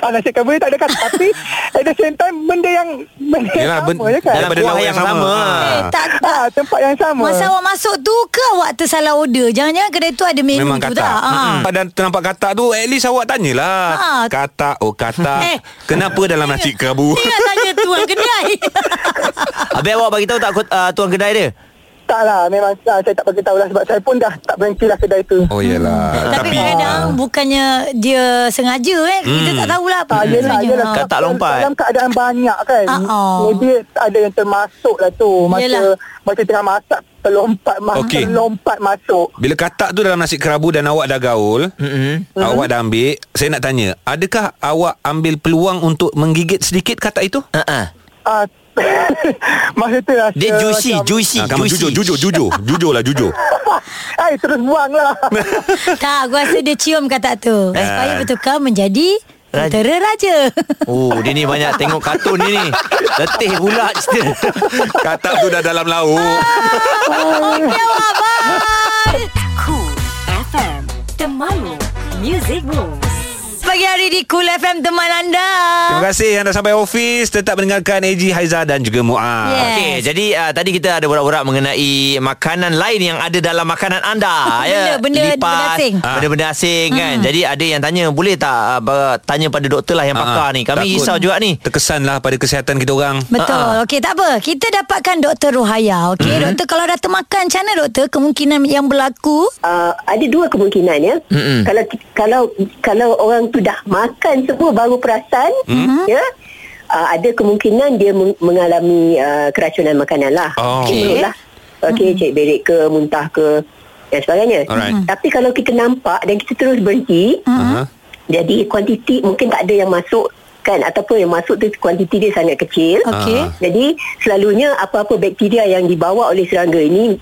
Speaker 7: ah, Nasi kerabu dia tak ada kata Tapi at the same time Benda yang Benda
Speaker 5: Eh,
Speaker 7: yang
Speaker 3: Yelah,
Speaker 7: sama
Speaker 3: ben-
Speaker 7: je kan
Speaker 2: dalam
Speaker 3: Daripada
Speaker 2: kuah
Speaker 3: lauk
Speaker 2: yang
Speaker 3: yang sama.
Speaker 2: sama.
Speaker 1: Eh, tak tak
Speaker 7: ah, Tempat yang sama
Speaker 1: Masa awak masuk tu ke awak tersalah order? Jangan-jangan kedai tu ada menu
Speaker 3: Memang
Speaker 1: tu
Speaker 3: katak
Speaker 1: tak? Ha.
Speaker 3: Mm-mm. Pada nampak katak tu At least awak tanyalah
Speaker 1: Ha.
Speaker 3: Katak Oh katak
Speaker 1: Eh.
Speaker 3: Kenapa dalam nasi kerabu
Speaker 1: Dia nak tanya tuan kedai.
Speaker 2: Habis awak bagi tahu tak kot- ah, tuan kedai dia?
Speaker 7: Tak lah Memang ah, saya tak beritahu lah Sebab saya pun dah tak berhenti lah kedai tu
Speaker 3: (laughs) Oh yelah
Speaker 1: Tapi kadang-kadang bukannya dia sengaja eh. Kita tak tahulah apa
Speaker 7: Ah,
Speaker 1: dia
Speaker 7: yelah,
Speaker 1: sebenarnya.
Speaker 7: yelah.
Speaker 1: Ha.
Speaker 7: Sebab
Speaker 2: Katak lompat.
Speaker 7: Dalam keadaan banyak kan.
Speaker 1: Ah, ah.
Speaker 7: Maybe ada yang termasuk lah tu. Masa,
Speaker 1: Yelah.
Speaker 7: masa tengah masak, terlompat, ma-
Speaker 3: Okey.
Speaker 7: terlompat masuk.
Speaker 3: Bila katak tu dalam nasi kerabu Dan awak dah gaul
Speaker 2: Hmm.
Speaker 3: mm-hmm. Awak dah ambil Saya nak tanya Adakah awak ambil peluang Untuk menggigit sedikit katak itu
Speaker 2: Ha ah.
Speaker 7: Ah, (laughs) masa tu rasa
Speaker 2: Dia juicy,
Speaker 7: macam,
Speaker 2: Eh, juicy,
Speaker 3: Ah, kamu
Speaker 2: juicy.
Speaker 3: jujur, jujur, jujur Jujur lah, jujur
Speaker 7: Ay, terus buang lah.
Speaker 1: Tak, aku rasa dia cium katak tu. Supaya bertukar menjadi
Speaker 2: Raja.
Speaker 1: Tentera Raja.
Speaker 2: Oh, dia ni banyak tengok kartun ni ni. Letih pula (laughs) cerita.
Speaker 3: Katak tu dah dalam lauk
Speaker 1: Okey awak, bye.
Speaker 9: Cool FM Temanmu Music Rules
Speaker 1: Pagi hari di Cool FM teman anda.
Speaker 3: Terima
Speaker 2: Ah.
Speaker 3: kasih yang dah sampai office Tetap mendengarkan AG Haiza dan juga Muaz
Speaker 1: Yeah.
Speaker 2: Okey, jadi uh, tadi kita ada borak-borak mengenai makanan lain yang ada dalam makanan anda.
Speaker 1: (laughs)
Speaker 2: Ya,
Speaker 1: Benda- benda- benda asing. Hmm.
Speaker 2: ah, Benda-benda asing kan. Jadi ada yang tanya, boleh tak uh, tanya pada doktor lah yang
Speaker 3: Ah,
Speaker 2: pakar ni. Kami
Speaker 3: takut
Speaker 2: risau juga ni.
Speaker 3: Terkesanlah pada kesihatan kita orang
Speaker 1: Betul. Okey, tak apa. Kita dapatkan Dr. Ruhaya. Okey, mm-hmm. doktor kalau dah termakan macam mana doktor? Kemungkinan yang berlaku
Speaker 10: uh, ada dua kemungkinan ya. Mm-hmm. Kalau kalau kalau orang tu dah makan semua baru perasan mm-hmm. ya. Uh, ada kemungkinan dia meng- mengalami uh, keracunan makanan lah.
Speaker 3: Oh.
Speaker 10: Okey. Mulut lah. Okey, mm-hmm. cek berik ke, muntah ke dan sebagainya.
Speaker 3: Alright. Mhm.
Speaker 10: Tapi kalau kita nampak dan kita terus berhenti,
Speaker 2: Mm-hmm.
Speaker 3: uh-huh.
Speaker 10: jadi kuantiti mungkin tak ada yang masuk kan ataupun yang masuk tu kuantiti dia sangat kecil.
Speaker 1: Okey. Ah.
Speaker 10: Jadi selalunya apa-apa bakteria yang dibawa oleh serangga ini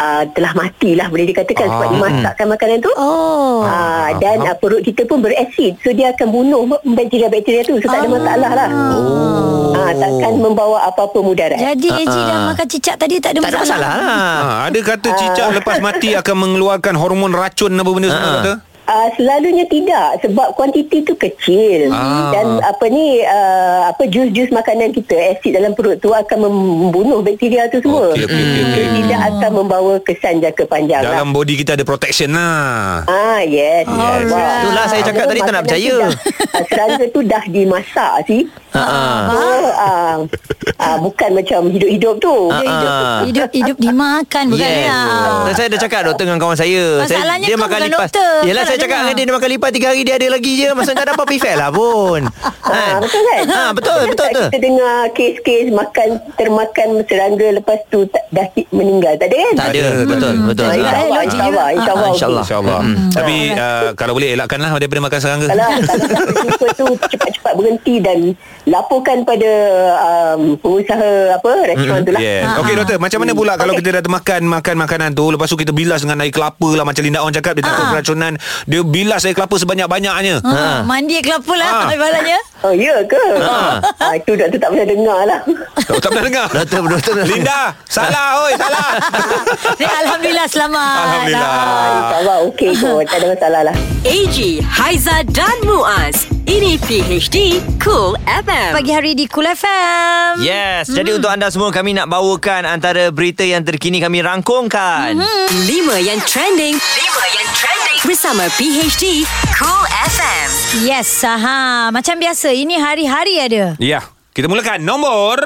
Speaker 10: uh, telah matilah boleh dikatakan sebab
Speaker 3: Ah.
Speaker 10: dimasakkan makanan tu.
Speaker 1: Oh.
Speaker 10: Ah, dan uh, perut kita pun berasid so dia akan bunuh bakteria-bakteria tu so tak ada masalah lah oh. ah, takkan membawa apa-apa mudarat
Speaker 5: Ah,
Speaker 1: Jadi uh Eji dah makan cicak tadi tak
Speaker 2: Tak ada
Speaker 1: ada masalah.
Speaker 2: masalah lah.
Speaker 3: Ha, ada kata cicak lepas mati akan mengeluarkan hormon racun apa benda semua
Speaker 2: Ha.
Speaker 3: kata.
Speaker 10: Uh, selalunya tidak sebab kuantiti tu kecil
Speaker 3: Ah.
Speaker 10: dan apa ni uh, apa jus-jus makanan kita asid dalam perut tu akan membunuh bakteria tu semua.
Speaker 3: Okey, okey, okey, okey.
Speaker 10: Dia tidak akan membawa kesan jangka panjang.
Speaker 3: Dalam
Speaker 10: lah.
Speaker 3: body kita ada protection lah.
Speaker 10: Ah yes.
Speaker 1: Alright.
Speaker 2: Itulah saya cakap tadi tak nak percaya.
Speaker 10: Uh, serangga tu dah dimasak sih.
Speaker 2: Ha ah.
Speaker 10: So, uh, uh, bukan macam hidup-hidup tu.
Speaker 1: Dia hidup,
Speaker 2: Ah.
Speaker 1: hidup hidup dimakan bukan
Speaker 2: Yes.
Speaker 1: ya.
Speaker 2: Dan saya dah cakap doktor dengan kawan saya. saya,
Speaker 1: Masalahnya
Speaker 2: dia
Speaker 1: kau
Speaker 2: makan
Speaker 1: bukan
Speaker 2: lipas.
Speaker 1: doktor.
Speaker 2: Yelah
Speaker 1: Kau
Speaker 2: saya
Speaker 1: dah
Speaker 2: cakap
Speaker 1: dengar.
Speaker 2: dengan dia dia makan lipas 3 hari dia ada lagi je. Maksudnya tak ada apa-apa effect lah pun.
Speaker 10: Ah,
Speaker 2: Ha,
Speaker 10: betul kan?
Speaker 2: betul,
Speaker 10: Kenapa
Speaker 2: betul,
Speaker 10: tak
Speaker 2: betul.
Speaker 10: Kita dengar kes-kes makan termakan serangga lepas tu tak, dah ti- meninggal. Tak ada kan?
Speaker 2: Tak ada, betul, betul.
Speaker 10: Ah,
Speaker 2: Ah,
Speaker 10: InsyaAllah.
Speaker 2: ah,
Speaker 10: InsyaAllah. InsyaAllah.
Speaker 2: InsyaAllah.
Speaker 3: InsyaAllah. Hmm. Tapi uh, kalau boleh elakkanlah daripada makan serangga.
Speaker 10: Kalau kalau tak berjumpa tu cepat-cepat berhenti dan laporkan pada um, pengusaha apa restoran tu lah.
Speaker 3: Yeah.
Speaker 2: Ah,
Speaker 1: Ha,
Speaker 3: Okey
Speaker 1: ha.
Speaker 3: doktor, macam mana pula kalau
Speaker 10: Okey.
Speaker 3: kita dah makan makan makanan tu, lepas tu kita bilas dengan air kelapa lah macam Linda On cakap dia takut
Speaker 2: Ah.
Speaker 3: keracunan, dia bilas air kelapa sebanyak-banyaknya.
Speaker 1: Ha. Mandi kelapa lah
Speaker 3: Ah.
Speaker 1: ha. Ibaratnya
Speaker 10: Oh ya ke? Ha. Ah, itu doktor tak pernah dengar lah.
Speaker 3: Tak, tak pernah dengar.
Speaker 2: Doktor, doktor, doktor.
Speaker 3: Linda, salah oi, (laughs) salah.
Speaker 1: Dia Alhamdulillah selamat
Speaker 3: Alhamdulillah.
Speaker 10: Ah. InsyaAllah
Speaker 2: (laughs)
Speaker 10: okey kot. Tak ada masalah lah.
Speaker 4: AG, Haiza dan Muaz. Ini PHD Cool FM.
Speaker 1: Ah, Pagi hari di Cool FM
Speaker 2: Yes, mm.
Speaker 1: Hmm.
Speaker 2: jadi untuk anda semua kami nak bawakan antara berita yang terkini kami rangkumkan.
Speaker 1: Hmm.
Speaker 2: Mm-hmm.
Speaker 4: Lima yang trending. Lima yang trending. Bersama PHD Cool FM.
Speaker 1: Yes aha. Macam biasa Ini hari-hari ada
Speaker 3: Ya. Kita mulakan nombor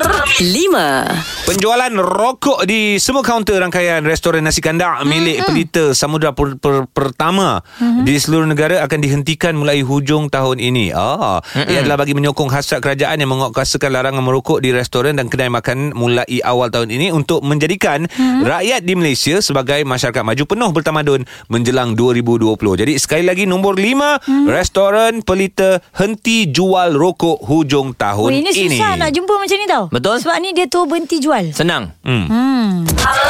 Speaker 4: Lima.
Speaker 3: penjualan rokok di semua kaunter rangkaian restoran nasi kandar milik pelita samudera per, per, pertama
Speaker 1: Mm-hmm.
Speaker 3: di seluruh negara akan dihentikan mulai hujung tahun ini. Ah, ia adalah bagi menyokong hasrat kerajaan yang menguatkuasakan larangan merokok di restoran dan kedai makan mulai awal tahun ini untuk menjadikan
Speaker 1: Mm-hmm.
Speaker 3: rakyat di Malaysia sebagai masyarakat maju penuh bertamadun menjelang 2020. Jadi sekali lagi nombor 5
Speaker 1: Mm.
Speaker 3: restoran pelita henti jual rokok hujung tahun
Speaker 1: Oh, ini susah nak jumpa macam ni tau
Speaker 2: Betul.
Speaker 1: Sebab ni dia tu berhenti jual
Speaker 2: Senang.
Speaker 3: Hmm.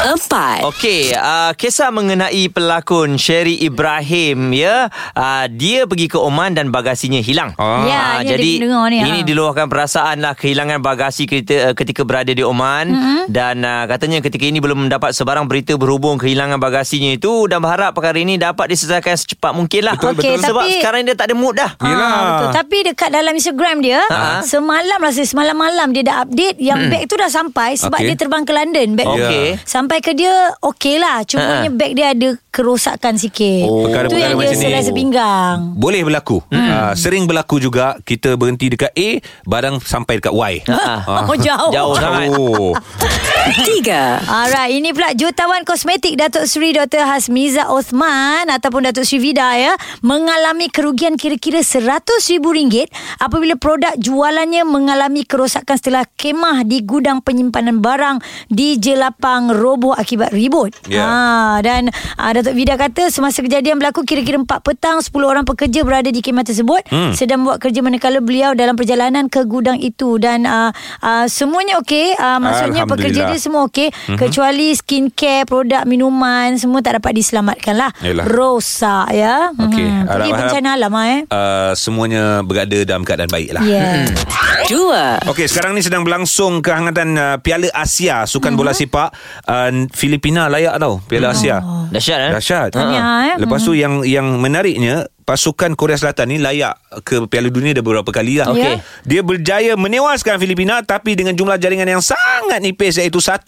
Speaker 4: Empat.
Speaker 2: Okey, uh, kisah mengenai pelakon Sherry Ibrahim ya. Uh, dia pergi ke Oman dan bagasinya hilang.
Speaker 3: Ah.
Speaker 1: Ya,
Speaker 2: Ah,
Speaker 1: ni ada pendengar ni,
Speaker 2: ini
Speaker 1: ah.
Speaker 2: diluahkan perasaan lah kehilangan bagasi ketika, eh, ketika berada di Oman mm-hmm. dan uh, katanya ketika ini belum mendapat sebarang berita berhubung kehilangan bagasinya itu dan berharap perkara ini dapat diselesaikan secepat mungkin lah.
Speaker 1: Betul, Okey, betul.
Speaker 2: Sebab
Speaker 1: tapi-
Speaker 2: sekarang dia tak ada mood dah.
Speaker 1: Ah,
Speaker 3: Yelah.
Speaker 1: betul. Tapi dekat dalam Instagram dia
Speaker 2: Ha.
Speaker 1: Semalam rasa Semalam malam dia dah update Yang beg tu dah sampai Sebab
Speaker 3: Hmm. Okey. Ya.
Speaker 1: dia terbang ke London beg tu.
Speaker 2: Okey.
Speaker 1: Sampai ke dia Okey lah Cumanya
Speaker 2: Ha.
Speaker 1: beg dia ada Kerosakan sikit
Speaker 3: Oh.
Speaker 1: Tu
Speaker 3: Perkara-perkara
Speaker 1: yang dia
Speaker 3: macam ni.
Speaker 1: selai sepinggang
Speaker 3: Boleh berlaku hmm. uh, Sering berlaku juga Kita berhenti dekat A Barang sampai dekat Y Ah.
Speaker 1: Oh, jauh.
Speaker 2: Jauh sangat.
Speaker 3: Oh.
Speaker 4: Tiga.
Speaker 1: Alright, ini pula jutawan kosmetik Datuk Seri Dr. Hasmiza Osman ataupun Datuk Seri Vida ya mengalami kerugian kira-kira RM100,000 apabila produk jualannya mengalami kerosakan setelah kemah di gudang penyimpanan barang di Jelapang roboh akibat ribut.
Speaker 3: Ya.
Speaker 1: Ha, dan uh, Datuk Vida kata semasa kejadian berlaku kira-kira 4 petang 10 orang pekerja berada di kemah tersebut hmm. sedang buat kerja manakala beliau dalam perjalanan ke gudang itu dan uh, uh, semuanya okey uh, maksudnya pekerja
Speaker 3: Alhamdulillah.
Speaker 1: dia semua okey
Speaker 3: Mhm.
Speaker 1: mm-hmm. kecuali skincare, produk, minuman semua tak dapat diselamatkan lah.
Speaker 3: Yelah.
Speaker 1: Rosak ya.
Speaker 3: Okey.
Speaker 1: Mhm. Jadi
Speaker 3: Harap-harap-
Speaker 1: bencana alam
Speaker 3: (coughs)
Speaker 1: ah, eh. Ya,
Speaker 3: uh, Semuanya berada dalam keadaan baik lah
Speaker 1: Yeah.
Speaker 4: Dua.
Speaker 3: Okey, sekarang ni sedang berlangsung kehangatan uh, Piala Asia
Speaker 1: Hmm.
Speaker 3: Sukan Bola Sepak uh, Filipina layak tau Piala Asia
Speaker 1: Oh.
Speaker 2: Dahsyat eh.
Speaker 3: Dahsyat
Speaker 1: Tahniah,
Speaker 3: Ha.
Speaker 1: eh.
Speaker 3: Lepas tu yang yang menariknya Pasukan Korea Selatan ni layak ke Piala Dunia dah beberapa kali lah
Speaker 2: Ya.
Speaker 1: Okey.
Speaker 3: Dia berjaya menewaskan Filipina Tapi dengan jumlah jaringan yang sangat nipis Iaitu 1-0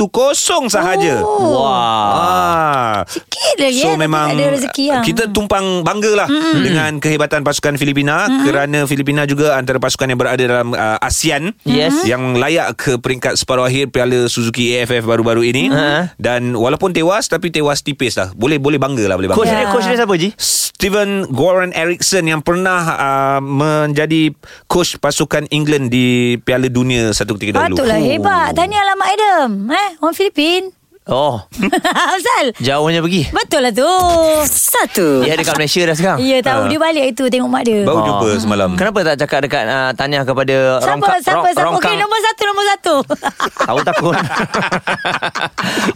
Speaker 3: sahaja
Speaker 1: Oh.
Speaker 2: Wah.
Speaker 3: Ah.
Speaker 1: Sikit lagi
Speaker 3: So
Speaker 1: eh, tapi
Speaker 3: memang
Speaker 1: tak ada rezeki lah.
Speaker 3: kita tumpang banggalah mm. dengan kehebatan pasukan Filipina mm. kerana Filipina juga antara pasukan yang berada dalam uh, ASEAN
Speaker 2: Yes.
Speaker 3: yang layak ke peringkat separuh akhir Piala Suzuki AFF baru-baru ini
Speaker 2: Mm.
Speaker 3: dan walaupun tewas tapi tewas tipis lah. Boleh boleh banggalah boleh
Speaker 2: Coach
Speaker 3: bangga.
Speaker 2: dia coach dia siapa Ji?
Speaker 3: Steven Goran Eriksson yang pernah uh, menjadi coach pasukan England di Piala Dunia satu ketika dahulu.
Speaker 1: Patutlah
Speaker 3: Oh.
Speaker 1: hebat. Tahniah lah Mak Adam. Eh, orang
Speaker 3: (laughs)
Speaker 1: Filipin. (laughs)
Speaker 2: Oh,
Speaker 1: Azal.
Speaker 2: jauhnya pergi.
Speaker 1: Betul lah tu.
Speaker 4: Satu.
Speaker 2: Dia dekat Malaysia dah sekarang.
Speaker 3: Ah.
Speaker 1: Ya tahu dia balik itu tengok mak
Speaker 2: Ah.
Speaker 1: dia.
Speaker 3: Baru jumpa semalam.
Speaker 2: Kenapa tak cakap dekat uh, tanya kepada
Speaker 1: Hmm. Siapa
Speaker 2: Rongka-
Speaker 1: siapa
Speaker 2: Rong-
Speaker 1: siapa
Speaker 2: Rongkang?
Speaker 1: okey nombor satu nombor satu.
Speaker 2: Tahu takut
Speaker 1: (laughs)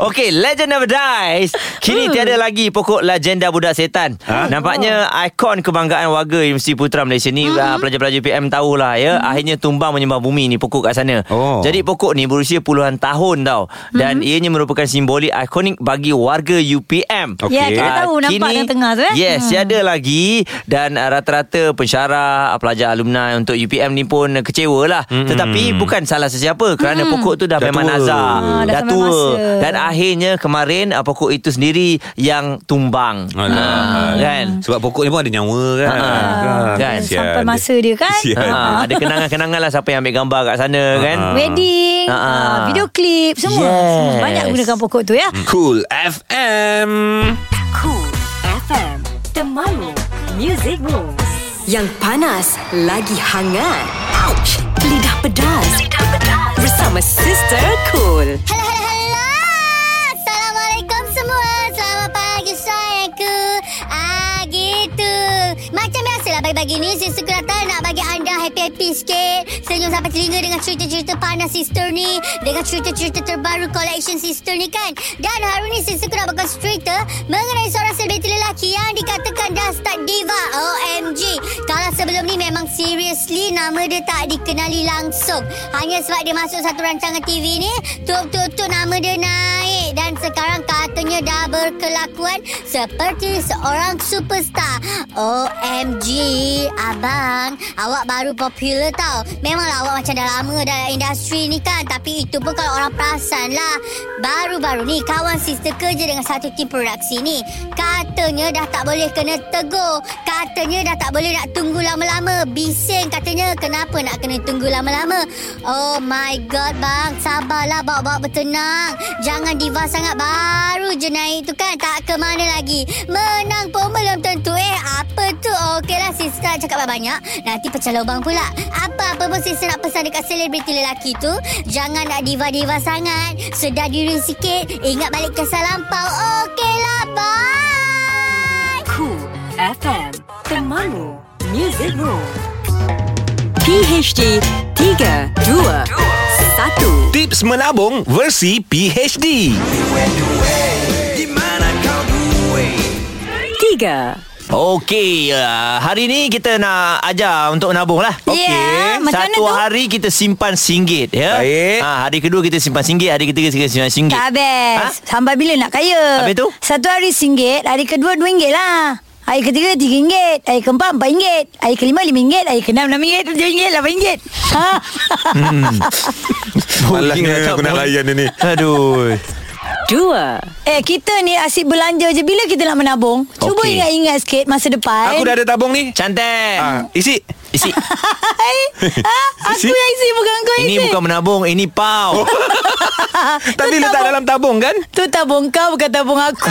Speaker 2: Okay Legend never dies Kini
Speaker 1: Hmm.
Speaker 2: tiada lagi Pokok legenda budak setan ha? Nampaknya
Speaker 1: Oh.
Speaker 2: Ikon kebanggaan warga Universiti Putra Malaysia ni
Speaker 1: Hmm.
Speaker 2: uh, Pelajar-pelajar PM tahulah ya Akhirnya tumbang menyembah bumi ni Pokok kat sana
Speaker 3: Oh.
Speaker 2: Jadi pokok ni berusia puluhan tahun tau
Speaker 1: Hmm.
Speaker 2: Dan ianya merupakan simbolik ikonik Bagi warga UPM
Speaker 3: Okey.
Speaker 1: Ya kita
Speaker 3: Ah,
Speaker 1: tahu nampak
Speaker 2: kini-
Speaker 1: yang tengah tu eh.
Speaker 2: Yes, hmm. tiada lagi dan uh, rata-rata pensyarah, uh, pelajar alumni untuk UPM ni pun uh, kecewa lah. Hmm. Tetapi bukan salah sesiapa kerana hmm. pokok tu dah,
Speaker 3: Dah
Speaker 2: memang
Speaker 3: tua.
Speaker 2: nazar.
Speaker 1: Ah, dah
Speaker 2: dah
Speaker 1: sampai
Speaker 2: tua.
Speaker 1: masa.
Speaker 2: Dan akhirnya kemarin uh, pokok itu sendiri yang tumbang.
Speaker 3: Alah.
Speaker 2: Kan?
Speaker 3: Sebab pokok ni pun ada nyawa kan.
Speaker 2: Ha,
Speaker 3: Ah,
Speaker 2: kan?
Speaker 3: kesian.
Speaker 1: Hmm. Sampai masa dia kan.
Speaker 3: Kesian.
Speaker 2: Ha, ada kenangan-kenangan lah siapa yang ambil gambar kat sana kan.
Speaker 3: Ah.
Speaker 1: Wedding,
Speaker 2: Ah, ah.
Speaker 1: ah, video klip semua.
Speaker 2: Yes.
Speaker 1: Semua Banyak gunakan pokok tu ya.
Speaker 3: Cool FM.
Speaker 4: Cool FM. Temanmu. Music Moves. Yang panas lagi hangat. Ouch. Lidah pedas. Lidah pedas. Bersama Sister Cool.
Speaker 11: Hello, hello, hello. Assalamualaikum semua. Selamat pagi sayangku. Ah, gitu. Macam biasalah pagi-pagi pagi ni Sister Kelata nak bagi anda happy-happy sikit Senyum sampai telinga dengan cerita-cerita panas sister ni Dengan cerita-cerita terbaru collection sister ni kan Dan hari ni Sister Kelata bakal cerita Mengenai seorang selebriti lelaki yang dikatakan dah start diva OMG Kalau sebelum ni memang seriously nama dia tak dikenali langsung Hanya sebab dia masuk satu rancangan TV ni Tuk-tuk-tuk nama dia naik Dan sekarang katanya dah berkelakuan Seperti seorang superstar OMG Abang Awak baru popular tau Memanglah awak macam dah lama dalam industri ni kan Tapi itu pun kalau orang perasan lah Baru-baru ni kawan sister kerja dengan satu tim produksi ni Katanya dah tak boleh kena tegur Katanya dah tak boleh nak tunggu lama-lama Bising katanya kenapa nak kena tunggu lama-lama Oh my god bang Sabarlah bawa-bawa bertenang Jangan diva sangat baru je naik tu kan Tak ke mana lagi Menang pun belum tentu eh Apa tu Okeylah sister nak cakap banyak-banyak Nanti pecah lubang pula Apa-apa pun sister nak pesan dekat selebriti lelaki tu Jangan nak diva-diva sangat Sedar diri sikit Ingat balik kisah lampau Okeylah bye
Speaker 4: Cool FM Temanmu Music Room PHD 3 2 1
Speaker 3: Tips menabung versi PhD.
Speaker 4: 3
Speaker 2: Okey, uh, hari ni kita nak ajar untuk menabung lah.
Speaker 1: Ya,
Speaker 2: Okey.
Speaker 1: macam mana
Speaker 2: Satu
Speaker 1: tu?
Speaker 2: hari kita simpan RM1, ya.
Speaker 3: Baik.
Speaker 2: Ha, hari kedua kita simpan RM1, hari ketiga kita simpan RM1.
Speaker 1: Tak habis. Ha? Sampai bila nak kaya?
Speaker 2: Ah. Habis tu?
Speaker 1: Satu hari RM1, hari kedua RM2 lah. Hari ketiga RM3, hari keempat RM4, hari kelima RM5, hari keenam RM6, RM7, RM8. Ha?
Speaker 3: Malasnya aku nak layan dia ni.
Speaker 2: Aduh.
Speaker 4: 2
Speaker 1: eh, kita ni asyik belanja je. Bila kita nak menabung? Cuba
Speaker 2: Okey.
Speaker 1: ingat-ingat sikit masa depan.
Speaker 3: Aku dah ada tabung ni.
Speaker 2: Cantik.
Speaker 3: Ah, isi.
Speaker 1: (laughs)
Speaker 2: Isi.
Speaker 1: Hai? ha? Aku
Speaker 3: Isi?
Speaker 1: yang isi, bukan kau isi.
Speaker 2: ini bukan menabung, ini
Speaker 3: Oh.
Speaker 2: pau.
Speaker 3: (laughs) Tadi letak dalam tabung kan?
Speaker 1: Tu tabung kau, bukan tabung aku.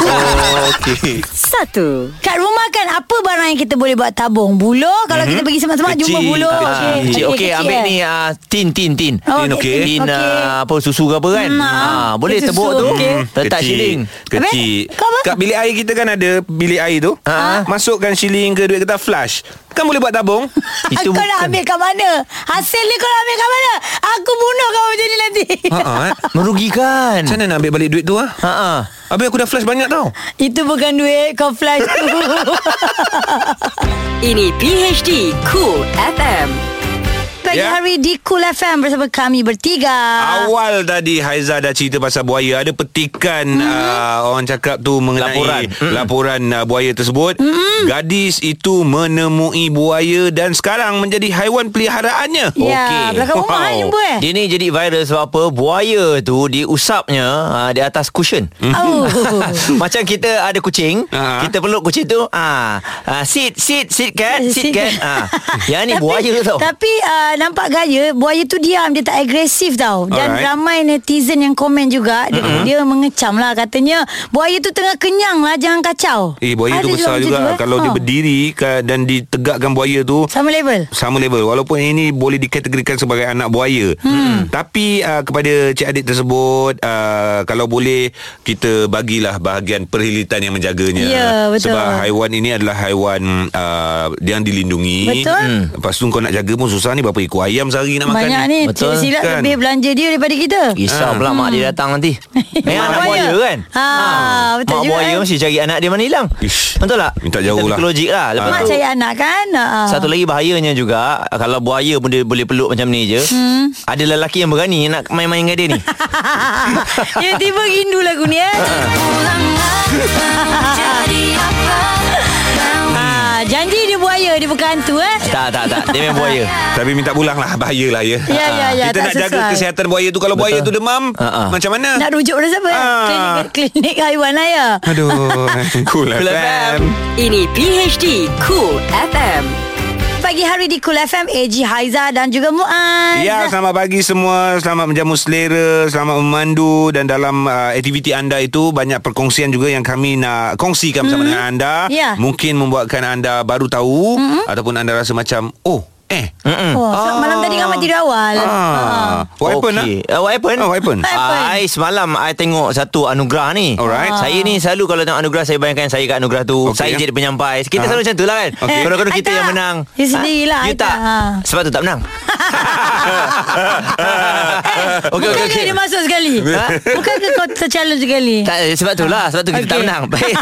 Speaker 3: Okey.
Speaker 4: 1
Speaker 1: Kat rumah kan apa barang yang kita boleh buat tabung? Buluh kalau mm-hmm. kita pergi semak-semak
Speaker 3: Kecil.
Speaker 1: jumpa buluh.
Speaker 3: Ah,
Speaker 1: Okey,
Speaker 2: Mhm. Ah, Cik, okey,
Speaker 1: kecil,
Speaker 2: ambil
Speaker 1: eh.
Speaker 2: ni ah, tin, tin, tin.
Speaker 1: Oh,
Speaker 3: Tin, okey.
Speaker 2: Tin ah, apa susu ke apa kan?
Speaker 1: Hmm, ah.
Speaker 2: Ah, boleh
Speaker 1: Tin susu,
Speaker 2: tebuk tu. Hmm.
Speaker 1: okey.
Speaker 2: Letak
Speaker 3: Kecil.
Speaker 2: shilling.
Speaker 3: Kecil.
Speaker 1: Habis? Kau apa?
Speaker 3: Kat bilik air kita kan ada bilik air tu.
Speaker 2: Ah.
Speaker 3: Masukkan shilling ke duit kertas flash. Kan boleh buat tabung.
Speaker 2: Itu
Speaker 1: Itu kau nak
Speaker 2: bukan.
Speaker 1: ambil kat mana? Hasil ni kau nak ambil kat mana? Aku bunuh kau macam ni nanti.
Speaker 3: Ha ah. eh.
Speaker 2: Merugikan.
Speaker 3: Macam mana nak ambil balik duit tu ah?
Speaker 2: Ha ah.
Speaker 3: Habis aku dah flash banyak tau.
Speaker 1: (laughs) Itu bukan duit kau
Speaker 3: (laughs)
Speaker 1: flash tu.
Speaker 4: Ini PHD Cool FM
Speaker 1: Pagi
Speaker 3: Ya.
Speaker 1: hari di Cool FM bersama kami bertiga. Ah.
Speaker 3: Awal tadi Haiza dah cerita pasal buaya Ada petikan hmm.
Speaker 1: Mhm.
Speaker 3: uh, Orang cakap tu mengenai
Speaker 2: Laporan.
Speaker 3: Laporan Laporan uh, buaya tersebut
Speaker 1: Mhm.
Speaker 3: hmm. Gadis itu menemui buaya Dan sekarang menjadi haiwan peliharaannya
Speaker 1: Ya,
Speaker 2: Okey.
Speaker 1: belakang rumah wow. jumpa eh.
Speaker 2: Dia ni jadi viral sebab apa Buaya tu diusapnya uh, Di atas cushion
Speaker 3: Hmm. (laughs)
Speaker 1: Oh.
Speaker 2: Macam kita ada kucing
Speaker 3: Ah.
Speaker 2: Kita peluk kucing tu ah, ah, Sit, sit, sit cat Sit
Speaker 1: Eh, Sit.
Speaker 2: cat
Speaker 3: kan?
Speaker 1: (laughs)
Speaker 2: ah. Yang ni
Speaker 1: Tapi-
Speaker 2: buaya tau
Speaker 1: Tapi uh, nampak gaya Buaya tu diam Dia tak agresif tau Dan
Speaker 3: Alright.
Speaker 1: Alright. ramai netizen yang komen juga Dia, mm-hmm. dia mengecam lah Katanya Buaya tu tengah kenyang lah Jangan kacau
Speaker 3: Eh buaya
Speaker 1: Ada
Speaker 3: tu besar
Speaker 1: macam
Speaker 3: juga
Speaker 1: eh.
Speaker 3: Kalau dia
Speaker 1: Oh.
Speaker 3: berdiri ka- Dan ditegakkan buaya tu
Speaker 1: Sama level
Speaker 3: sama level walaupun ini boleh dikategorikan sebagai anak buaya hmm. tapi uh, kepada cik adik tersebut uh, kalau boleh kita bagilah bahagian perhilitan yang menjaganya
Speaker 1: Ya, betul.
Speaker 3: sebab haiwan ini adalah haiwan uh, yang dilindungi
Speaker 1: Betul. Hmm.
Speaker 3: lepas tu kau nak jaga pun susah ni berapa ekor ayam sehari nak
Speaker 1: Banyak
Speaker 3: makan
Speaker 1: ni
Speaker 2: Betul,
Speaker 1: Betul Silap
Speaker 3: kan?
Speaker 1: kan? lebih belanja dia Daripada kita
Speaker 2: Risau pula mak dia datang
Speaker 1: (laughs)
Speaker 2: nanti Memang anak
Speaker 1: Hmm. buaya.
Speaker 2: buaya kan
Speaker 1: Ah, betul
Speaker 2: Mak
Speaker 1: juga,
Speaker 2: buaya
Speaker 1: kan?
Speaker 2: mesti cari anak dia mana hilang
Speaker 3: Ish.
Speaker 2: Betul tak?
Speaker 3: Minta jauh
Speaker 2: Kita
Speaker 3: lah.
Speaker 2: fikir logik lah Lepas
Speaker 1: Mak
Speaker 2: tu
Speaker 1: cari anak kan Ah.
Speaker 2: Satu lagi bahayanya juga Kalau buaya pun dia boleh peluk macam ni je hmm. Ada lelaki yang berani Nak main-main dengan dia
Speaker 1: (laughs)
Speaker 2: ni
Speaker 1: Ya tiba rindu lagu ni eh. Ah, janji dia buaya dia bukan hantu eh.
Speaker 2: Tak, tak, tak Dia main buaya
Speaker 3: tapi minta pulang lah bahayalah ya
Speaker 1: Ya, ya, ya,
Speaker 3: (laughs) kita
Speaker 1: tak
Speaker 3: nak jaga
Speaker 1: sesuai.
Speaker 3: kesihatan buaya tu kalau buaya tu demam
Speaker 2: Ah, ah.
Speaker 3: macam mana
Speaker 1: Nak rujuk pada siapa?
Speaker 3: Ah.
Speaker 1: Klinik, klinik haiwan lah ya.
Speaker 3: aduh cool
Speaker 2: Cool FM.
Speaker 3: FM
Speaker 4: Ini PHD Cool FM
Speaker 1: Pagi hari di Cool FM AG Haiza dan juga Muaz.
Speaker 3: Ya, selamat pagi semua. Selamat menjamu selera, selamat memandu dan dalam uh, aktiviti anda itu banyak perkongsian juga yang kami nak Hmm. kongsikan bersama dengan anda.
Speaker 1: Ya.
Speaker 3: Hmm. Mungkin membuatkan anda baru tahu ataupun anda rasa macam, "Oh, Eh
Speaker 2: mm.
Speaker 1: Oh, so malam tadi kan mak tidur awal. Ha.
Speaker 3: ah. What happened ah?
Speaker 2: okay. Uh, what happened?
Speaker 3: Oh, what happened?
Speaker 1: What happened?
Speaker 2: I semalam I tengok satu anugerah ni.
Speaker 3: Alright.
Speaker 2: Saya
Speaker 1: Ah.
Speaker 2: ni selalu kalau tengok anugerah saya bayangkan saya kat anugerah tu. Saya
Speaker 3: Okay.
Speaker 2: jadi penyampai. Kita
Speaker 3: Ah.
Speaker 2: selalu macam tu lah kan.
Speaker 3: Okay.
Speaker 2: Kalau-kalau
Speaker 1: I
Speaker 2: kita
Speaker 1: tak.
Speaker 2: yang menang.
Speaker 1: You sendirilah,
Speaker 2: Ah, You
Speaker 1: I tak.
Speaker 2: tak.
Speaker 1: Ah.
Speaker 2: Sebab tu tak
Speaker 1: (laughs)
Speaker 2: menang. (laughs)
Speaker 1: Eh,
Speaker 2: Okey okey
Speaker 1: bukan
Speaker 2: okey.
Speaker 1: dia masuk
Speaker 2: (laughs)
Speaker 1: sekali?
Speaker 2: Ha?
Speaker 1: Bukan ke kau tercalon sekali?
Speaker 2: Tak, eh, sebab tu lah Sebab tu kita okay. tak
Speaker 1: Okey.
Speaker 2: menang (laughs) Baik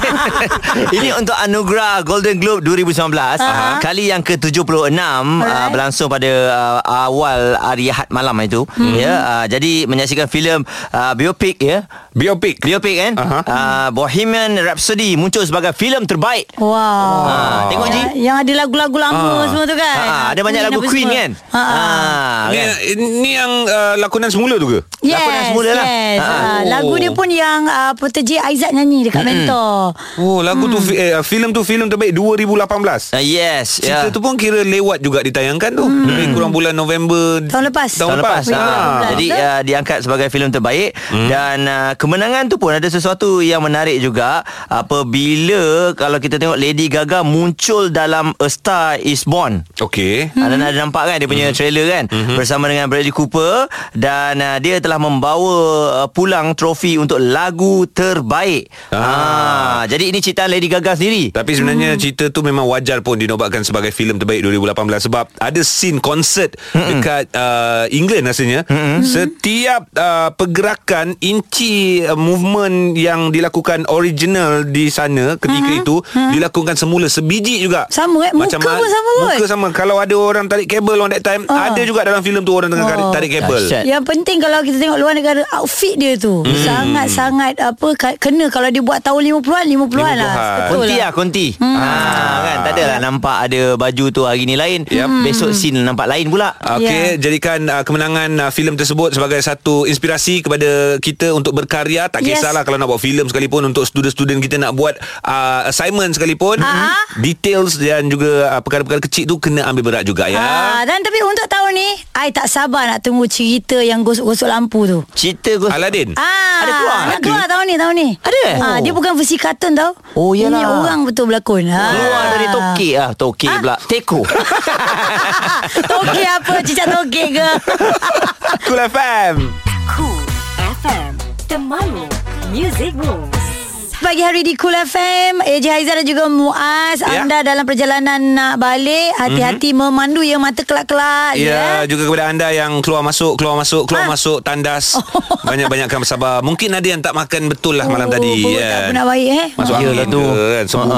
Speaker 2: Ini untuk Anugerah Golden Globe 2019
Speaker 1: Aha.
Speaker 2: Kali yang ke-76 uh,
Speaker 1: Alright.
Speaker 2: Berlangsung pada uh, awal hari Ahad malam itu hmm. ya, uh, Jadi menyaksikan filem uh, Biopic ya
Speaker 3: Biopic
Speaker 2: Biopic kan
Speaker 3: Aha.
Speaker 2: uh-huh. uh, Bohemian Rhapsody Muncul sebagai filem terbaik
Speaker 1: Wow.
Speaker 2: Ah, tengok, Ji.
Speaker 1: Yang- Yang ada lagu-lagu lama
Speaker 2: Ah.
Speaker 1: semua tu kan.
Speaker 2: Ah, Ada banyak lagu
Speaker 1: apa
Speaker 2: Queen
Speaker 1: semua.
Speaker 2: kan
Speaker 1: Ha.
Speaker 2: Ah,
Speaker 3: Ni,
Speaker 2: kan?
Speaker 3: ni yang uh, lakonan semula tu ke?
Speaker 1: Yes,
Speaker 2: Lakonan semula lah.
Speaker 1: yes.
Speaker 2: Ah.
Speaker 1: Ah, Lagu dia pun yang uh, Peterji Aizat nyanyi dekat mentor.
Speaker 3: Oh lagu tu fi- eh, filem tu filem terbaik 2018.
Speaker 2: Uh, yes
Speaker 3: Ya. Cerita tu pun kira lewat juga ditayangkan tu. Lebih kurang bulan November
Speaker 1: Tahun lepas.
Speaker 3: Hmm. Tahun,
Speaker 2: Tahun lepas,
Speaker 3: lepas.
Speaker 2: ha.
Speaker 1: Ah.
Speaker 2: Jadi
Speaker 1: Betul.
Speaker 2: uh, diangkat sebagai filem terbaik hmm. Dan uh, kemenangan tu pun ada sesuatu yang menarik juga Apabila kalau kita tengok Lady Gaga muncul dalam A Star Is Born
Speaker 3: Okey.
Speaker 2: Hmm. Anda ada nampak kan dia punya trailer kan hmm. bersama dengan Bradley Cooper dan uh, dia telah membawa uh, pulang trofi untuk lagu terbaik. Ah. jadi ini cerita Lady Gaga sendiri.
Speaker 3: Tapi sebenarnya hmm. cerita tu memang wajar pun dinobatkan sebagai filem terbaik 2018 sebab ada scene konsert hmm. dekat uh, England rasanya. Hmm. Setiap uh, pergerakan inci uh, movement yang dilakukan original di sana ketika hmm. itu hmm. dilakukan semula sebiji juga.
Speaker 1: Sama, eh? Muka pun sama kot.
Speaker 3: Muka sama. Kalau ada orang tarik kabel on that time
Speaker 1: Ah.
Speaker 3: ada juga dalam filem tu orang tengah oh.
Speaker 1: Oh.
Speaker 3: tarik kabel.
Speaker 2: Dahsyat.
Speaker 1: Yang penting kalau kita tengok luar negara outfit dia tu
Speaker 2: Mm.
Speaker 1: sangat-sangat apa ka- kena kalau dia buat tahun 50-an 50-an, 50-an. lah.
Speaker 3: 50-an.
Speaker 1: Betul
Speaker 2: Konti lah konti hmm. ha, kan Tak adalah nampak ada baju tu hari ni lain yep. Hmm. Besok scene nampak lain pula
Speaker 1: Ya.
Speaker 3: Okey, yeah. jadikan uh, kemenangan uh, filem tersebut sebagai satu inspirasi kepada kita untuk berkarya. Tak
Speaker 1: Yes.
Speaker 3: kisahlah kalau nak buat filem sekalipun untuk student-student kita nak buat uh, assignment sekalipun.
Speaker 1: Ah.
Speaker 3: Details dan juga uh, perkara-perkara kecil tu kena ambil berat juga ya.
Speaker 1: Ah, dan tapi untuk tahun ni I tak sabar nak tunggu cerita yang gosok-gosok lampu tu.
Speaker 2: Cerita gos-
Speaker 3: Aladin.
Speaker 1: Ah,
Speaker 2: Ada keluar?
Speaker 1: Nak keluar tahun ni, tahun ni.
Speaker 2: Ada?
Speaker 1: Ah, dia bukan versi kartun tau.
Speaker 2: Oh,
Speaker 1: Ini
Speaker 2: iyalah.
Speaker 1: orang betul berlakon. Ha.
Speaker 2: Keluar dari tokek ah, Tokek
Speaker 1: Ah.
Speaker 2: pula Teko
Speaker 1: (laughs) Tokek apa? Cicak tokek
Speaker 2: (laughs)
Speaker 1: ke?
Speaker 3: Cool FM.
Speaker 4: Cool FM Temanmu Music Rules
Speaker 1: Pagi hari di Cool FM AJ Haizan dan juga Muaz
Speaker 3: Ya.
Speaker 1: Anda dalam perjalanan nak balik Hati-hati
Speaker 2: Mhm.
Speaker 1: memandu ya Mata kelak-kelak
Speaker 3: Ya,
Speaker 1: ya.
Speaker 3: juga kepada anda yang keluar masuk, keluar masuk, keluar
Speaker 1: Ah.
Speaker 3: masuk tandas. (laughs) Banyak-banyakkan bersabar. Mungkin ada yang tak makan betul lah malam
Speaker 1: Oh,
Speaker 3: tadi.
Speaker 1: perut
Speaker 2: ya.
Speaker 1: tak pernah baik,
Speaker 2: (laughs)
Speaker 1: eh.
Speaker 3: Masuk
Speaker 2: Yelah
Speaker 3: angin
Speaker 2: tu.
Speaker 3: tu. ke kan, semua.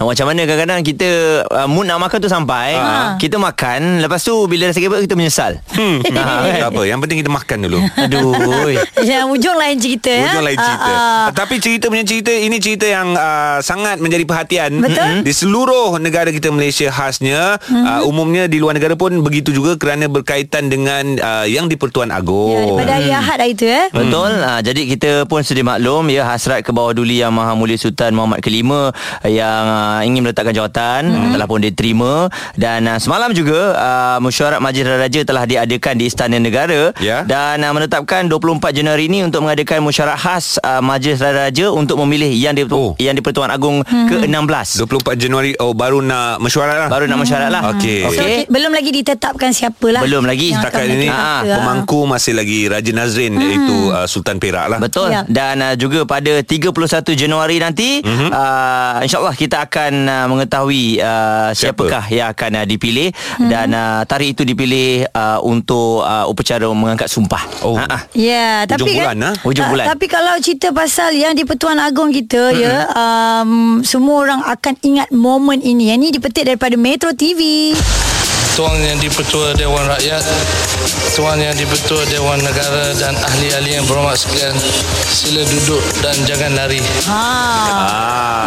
Speaker 2: Ah, Macam mana kadang-kadang kita uh, Mood nak makan tu sampai
Speaker 1: Ah.
Speaker 2: Kita makan Lepas tu bila rasa kebab kita menyesal (laughs)
Speaker 3: Hmm. tak apa, yang penting kita makan dulu.
Speaker 2: eh. Aduh oi.
Speaker 1: Yang ujung lain cerita ya.
Speaker 3: Ujung lain cerita
Speaker 1: Ah, ah.
Speaker 3: Tapi cerita punya cerita Ini cerita yang uh, Sangat menjadi perhatian Mm-hmm.
Speaker 1: Betul. Mm-hmm.
Speaker 3: Di seluruh negara kita Malaysia khasnya uh, Umumnya di luar negara pun Begitu juga Kerana berkaitan dengan uh, Yang di-Pertuan
Speaker 1: Ya,
Speaker 3: Agong
Speaker 1: daripada
Speaker 2: Hmm.
Speaker 1: hari Ahad hari tu eh.
Speaker 2: Betul ha, Jadi kita pun sedia maklum Ya hasrat ke bawah duli Yang Maha Mulia Sultan Muhammad kelima Yang uh, ingin meletakkan jawatan hmm. Telah pun diterima Dan uh, semalam juga uh, Mesyuarat Majlis Raja Telah diadakan di Istana Negara
Speaker 3: Ya.
Speaker 2: Dan uh, menetapkan 24 Januari ini Untuk mengadakan mesyuarat khas uh, Majlis Raja Untuk memilih Yang di, oh.
Speaker 3: Oh.
Speaker 2: yang di Pertuan Agong hmm. ke-16
Speaker 3: 24 Januari Oh baru nak mesyuarat lah
Speaker 2: Baru nak mesyuarat lah
Speaker 3: Okey.
Speaker 1: So,
Speaker 2: Okey.
Speaker 1: okay. belum lagi ditetapkan siapalah.
Speaker 2: Belum lagi.
Speaker 1: Yang akan
Speaker 3: Setakat ini
Speaker 1: menjadi
Speaker 2: ah,
Speaker 1: kata, ah.
Speaker 3: Pemangku masih lagi Raja Nazrin
Speaker 1: Mm-hmm.
Speaker 3: Iaitu uh, Sultan Perak lah
Speaker 2: Betul.
Speaker 1: Ya.
Speaker 2: Ya. Dan uh, juga pada 31 Januari nanti
Speaker 3: Mhm.
Speaker 2: mm-hmm. uh, insyaallah kita akan uh, mengetahui uh,
Speaker 3: Siapa?
Speaker 2: siapakah yang akan uh, dipilih
Speaker 1: Mhm.
Speaker 2: mm-hmm. dan uh, tarikh itu dipilih uh, untuk uh, upacara mengangkat sumpah. Ah,
Speaker 3: Oh.
Speaker 2: Ha-ha.
Speaker 1: Ya,
Speaker 3: Hujung
Speaker 1: tapi
Speaker 3: bulan,
Speaker 1: kan,
Speaker 3: ah.
Speaker 2: Hujung bulan. ha?
Speaker 1: tapi kalau cerita pasal yang di Pertuan Agong kita mm-hmm. ya, um, semua orang akan ingat momen ini. Yang ni dipetik daripada Metro TV.
Speaker 12: Tuan Yang di-Pertua Dewan Rakyat, Tuan Yang di-Pertua Dewan Negara dan ahli-ahli yang berhormat sekalian, sila duduk dan jangan lari.
Speaker 1: Ha.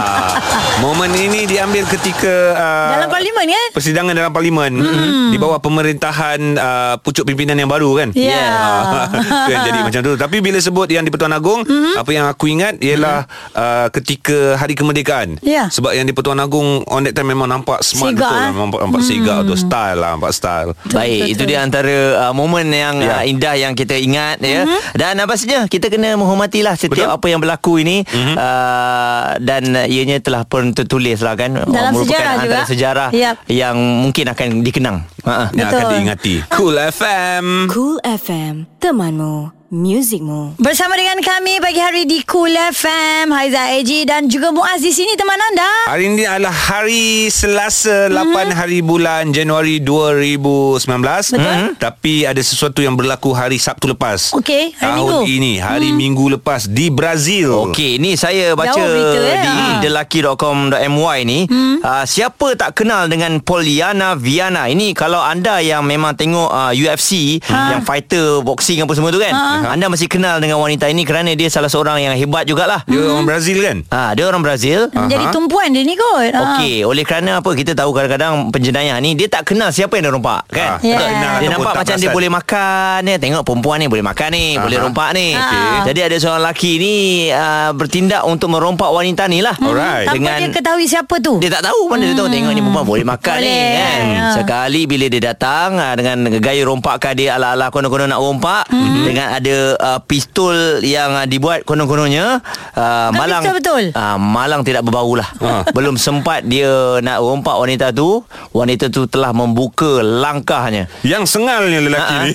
Speaker 1: (laughs)
Speaker 3: Ah, Momen ini diambil ketika uh,
Speaker 1: Dalam parlimen kan?
Speaker 3: Persidangan dalam parlimen mm-hmm. Di bawah pemerintahan uh, Pucuk pimpinan yang baru kan
Speaker 1: Ya. Yeah.
Speaker 3: Ah, (laughs) Itu yang
Speaker 1: (laughs)
Speaker 3: jadi macam tu Tapi bila sebut yang di Pertuan Agong mm-hmm. Apa yang aku ingat Ialah mm-hmm. uh, Ketika hari kemerdekaan
Speaker 1: Ya.
Speaker 3: Sebab yang di Pertuan Agong On that time memang nampak smart
Speaker 1: Sigak,
Speaker 3: betul
Speaker 1: eh?
Speaker 3: Nampak, nampak mm-hmm. tu Style style lah Nampak style
Speaker 2: Baik, itu dia antara uh, momen yang
Speaker 3: Ya.
Speaker 2: yeah. uh, indah yang kita ingat ya.
Speaker 1: Mhm.
Speaker 2: Dan apa saja kita kena menghormatilah setiap
Speaker 3: Betul. Mhm.
Speaker 2: apa yang berlaku ini mm-hmm. uh, dan uh, ianya telah pun tertulis lah kan
Speaker 1: Dalam
Speaker 2: merupakan
Speaker 1: sejarah
Speaker 2: antara
Speaker 1: juga.
Speaker 2: sejarah
Speaker 1: Yap.
Speaker 2: yang mungkin akan dikenang. Ha.
Speaker 3: Yang akan
Speaker 1: Betul.
Speaker 3: diingati Cool FM
Speaker 4: Cool FM, temanmu, muzikmu.
Speaker 1: Bersama dengan kami pagi hari di Cool FM Haiza Eji dan juga Muaz di sini teman anda
Speaker 3: Hari ini adalah hari Selasa 8
Speaker 1: Mhm.
Speaker 3: hari bulan Januari 2019 Betul Mhm. Tapi ada sesuatu yang berlaku hari Sabtu lepas
Speaker 1: Okey, hari
Speaker 3: Tahun
Speaker 1: Minggu. Mhm.
Speaker 3: ini Hari Minggu lepas Di Brazil
Speaker 2: Okey, ni saya baca
Speaker 1: Jauh berita, eh?
Speaker 2: di
Speaker 1: Ha.
Speaker 2: thelucky.com.my ni hmm. uh, siapa tak kenal dengan Poliana Viana. Ini kalau anda yang memang tengok uh, UFC
Speaker 1: Ha.
Speaker 2: yang fighter boxing apa semua tu kan. Anda mesti kenal dengan wanita ini kerana dia salah seorang yang hebat jugalah.
Speaker 3: Dia
Speaker 1: Hmm. Mhm.
Speaker 3: orang Brazil kan
Speaker 2: Ah, dia orang Brazil.
Speaker 1: Jadi tumpuan dia ni kot Ah.
Speaker 2: Okey, oleh kerana apa kita tahu kadang-kadang penjenayah ni dia tak kenal siapa yang dia rompak kan.
Speaker 3: Ah,
Speaker 1: Ya.
Speaker 3: tak
Speaker 2: Dia
Speaker 3: kenal ataupun
Speaker 2: nampak
Speaker 3: tak
Speaker 2: macam dia
Speaker 3: perasan.
Speaker 2: boleh makan ya. Tengok perempuan ni boleh makan ni
Speaker 3: Aha.
Speaker 2: Boleh rompak ni
Speaker 1: Okey.
Speaker 2: Jadi ada seorang lelaki ni uh, Bertindak untuk merompak wanita ni lah
Speaker 3: Alright.
Speaker 1: Tanpa
Speaker 2: Dengan
Speaker 1: dia ketahui siapa tu
Speaker 2: dia tak tahu mana dia tahu tengok ni perempuan boleh makan
Speaker 1: Boleh.
Speaker 2: ni kan.
Speaker 1: Hmm.
Speaker 2: Sekali bila dia datang ah, dengan gaya rompakkan dia ala-ala konon-konon nak rompak
Speaker 1: Hmm.
Speaker 2: dengan ada uh, pistol yang uh, dibuat konon-kononnya uh,
Speaker 1: Bukan
Speaker 2: malang
Speaker 1: Ah, pistol betul.
Speaker 2: Uh, malang tidak berbau lah.
Speaker 3: Ha.
Speaker 2: Belum sempat dia nak rompak wanita tu, wanita tu telah membuka langkahnya.
Speaker 3: Yang sengalnya lelaki
Speaker 1: (laughs)
Speaker 3: ni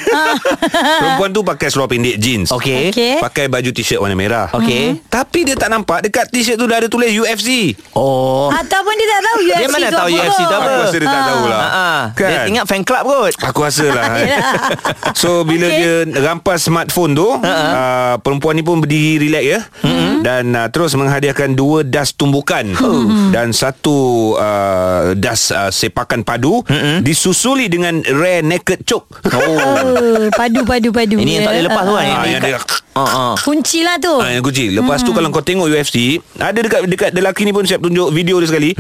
Speaker 3: (laughs) Perempuan tu pakai seluar pendek jeans
Speaker 2: Ah. Okey.
Speaker 1: Ah. Okey. Mhm.
Speaker 3: Pakai baju t-shirt warna merah
Speaker 2: Okey.
Speaker 3: Tapi dia tak nampak Dekat t-shirt tu dah ada tulis UFC
Speaker 2: Oh.
Speaker 1: Ataupun dia tak tahu UFC
Speaker 2: Dia mana
Speaker 1: tu
Speaker 2: tahu
Speaker 1: apa
Speaker 2: UFC tu
Speaker 1: kot.
Speaker 2: apa?
Speaker 3: Aku rasa dia
Speaker 1: Ah.
Speaker 3: tak tahulah
Speaker 2: Ha, ha. Dia
Speaker 3: Kan?
Speaker 2: ingat fan club kot.
Speaker 3: Aku rasa lah So bila okay. dia rampas smartphone tu uh, Perempuan ni pun berdiri relax ya Dan uh, terus menghadiahkan dua das tumbukan (laughs) Dan satu uh, das uh, sepakan padu Disusuli dengan rare naked choke
Speaker 1: Oh, Padu padu padu
Speaker 2: Ini yang tak boleh lepas tu kan.
Speaker 3: Ah,
Speaker 2: Ini
Speaker 3: yang
Speaker 2: kat-
Speaker 3: dia
Speaker 2: Ha, ha.
Speaker 1: Kunci lah tu
Speaker 3: Ah, yang kunci. Lepas tu kalau kau tengok UFC, ada dekat dekat lelaki ni pun siap tunjuk video dia sekali.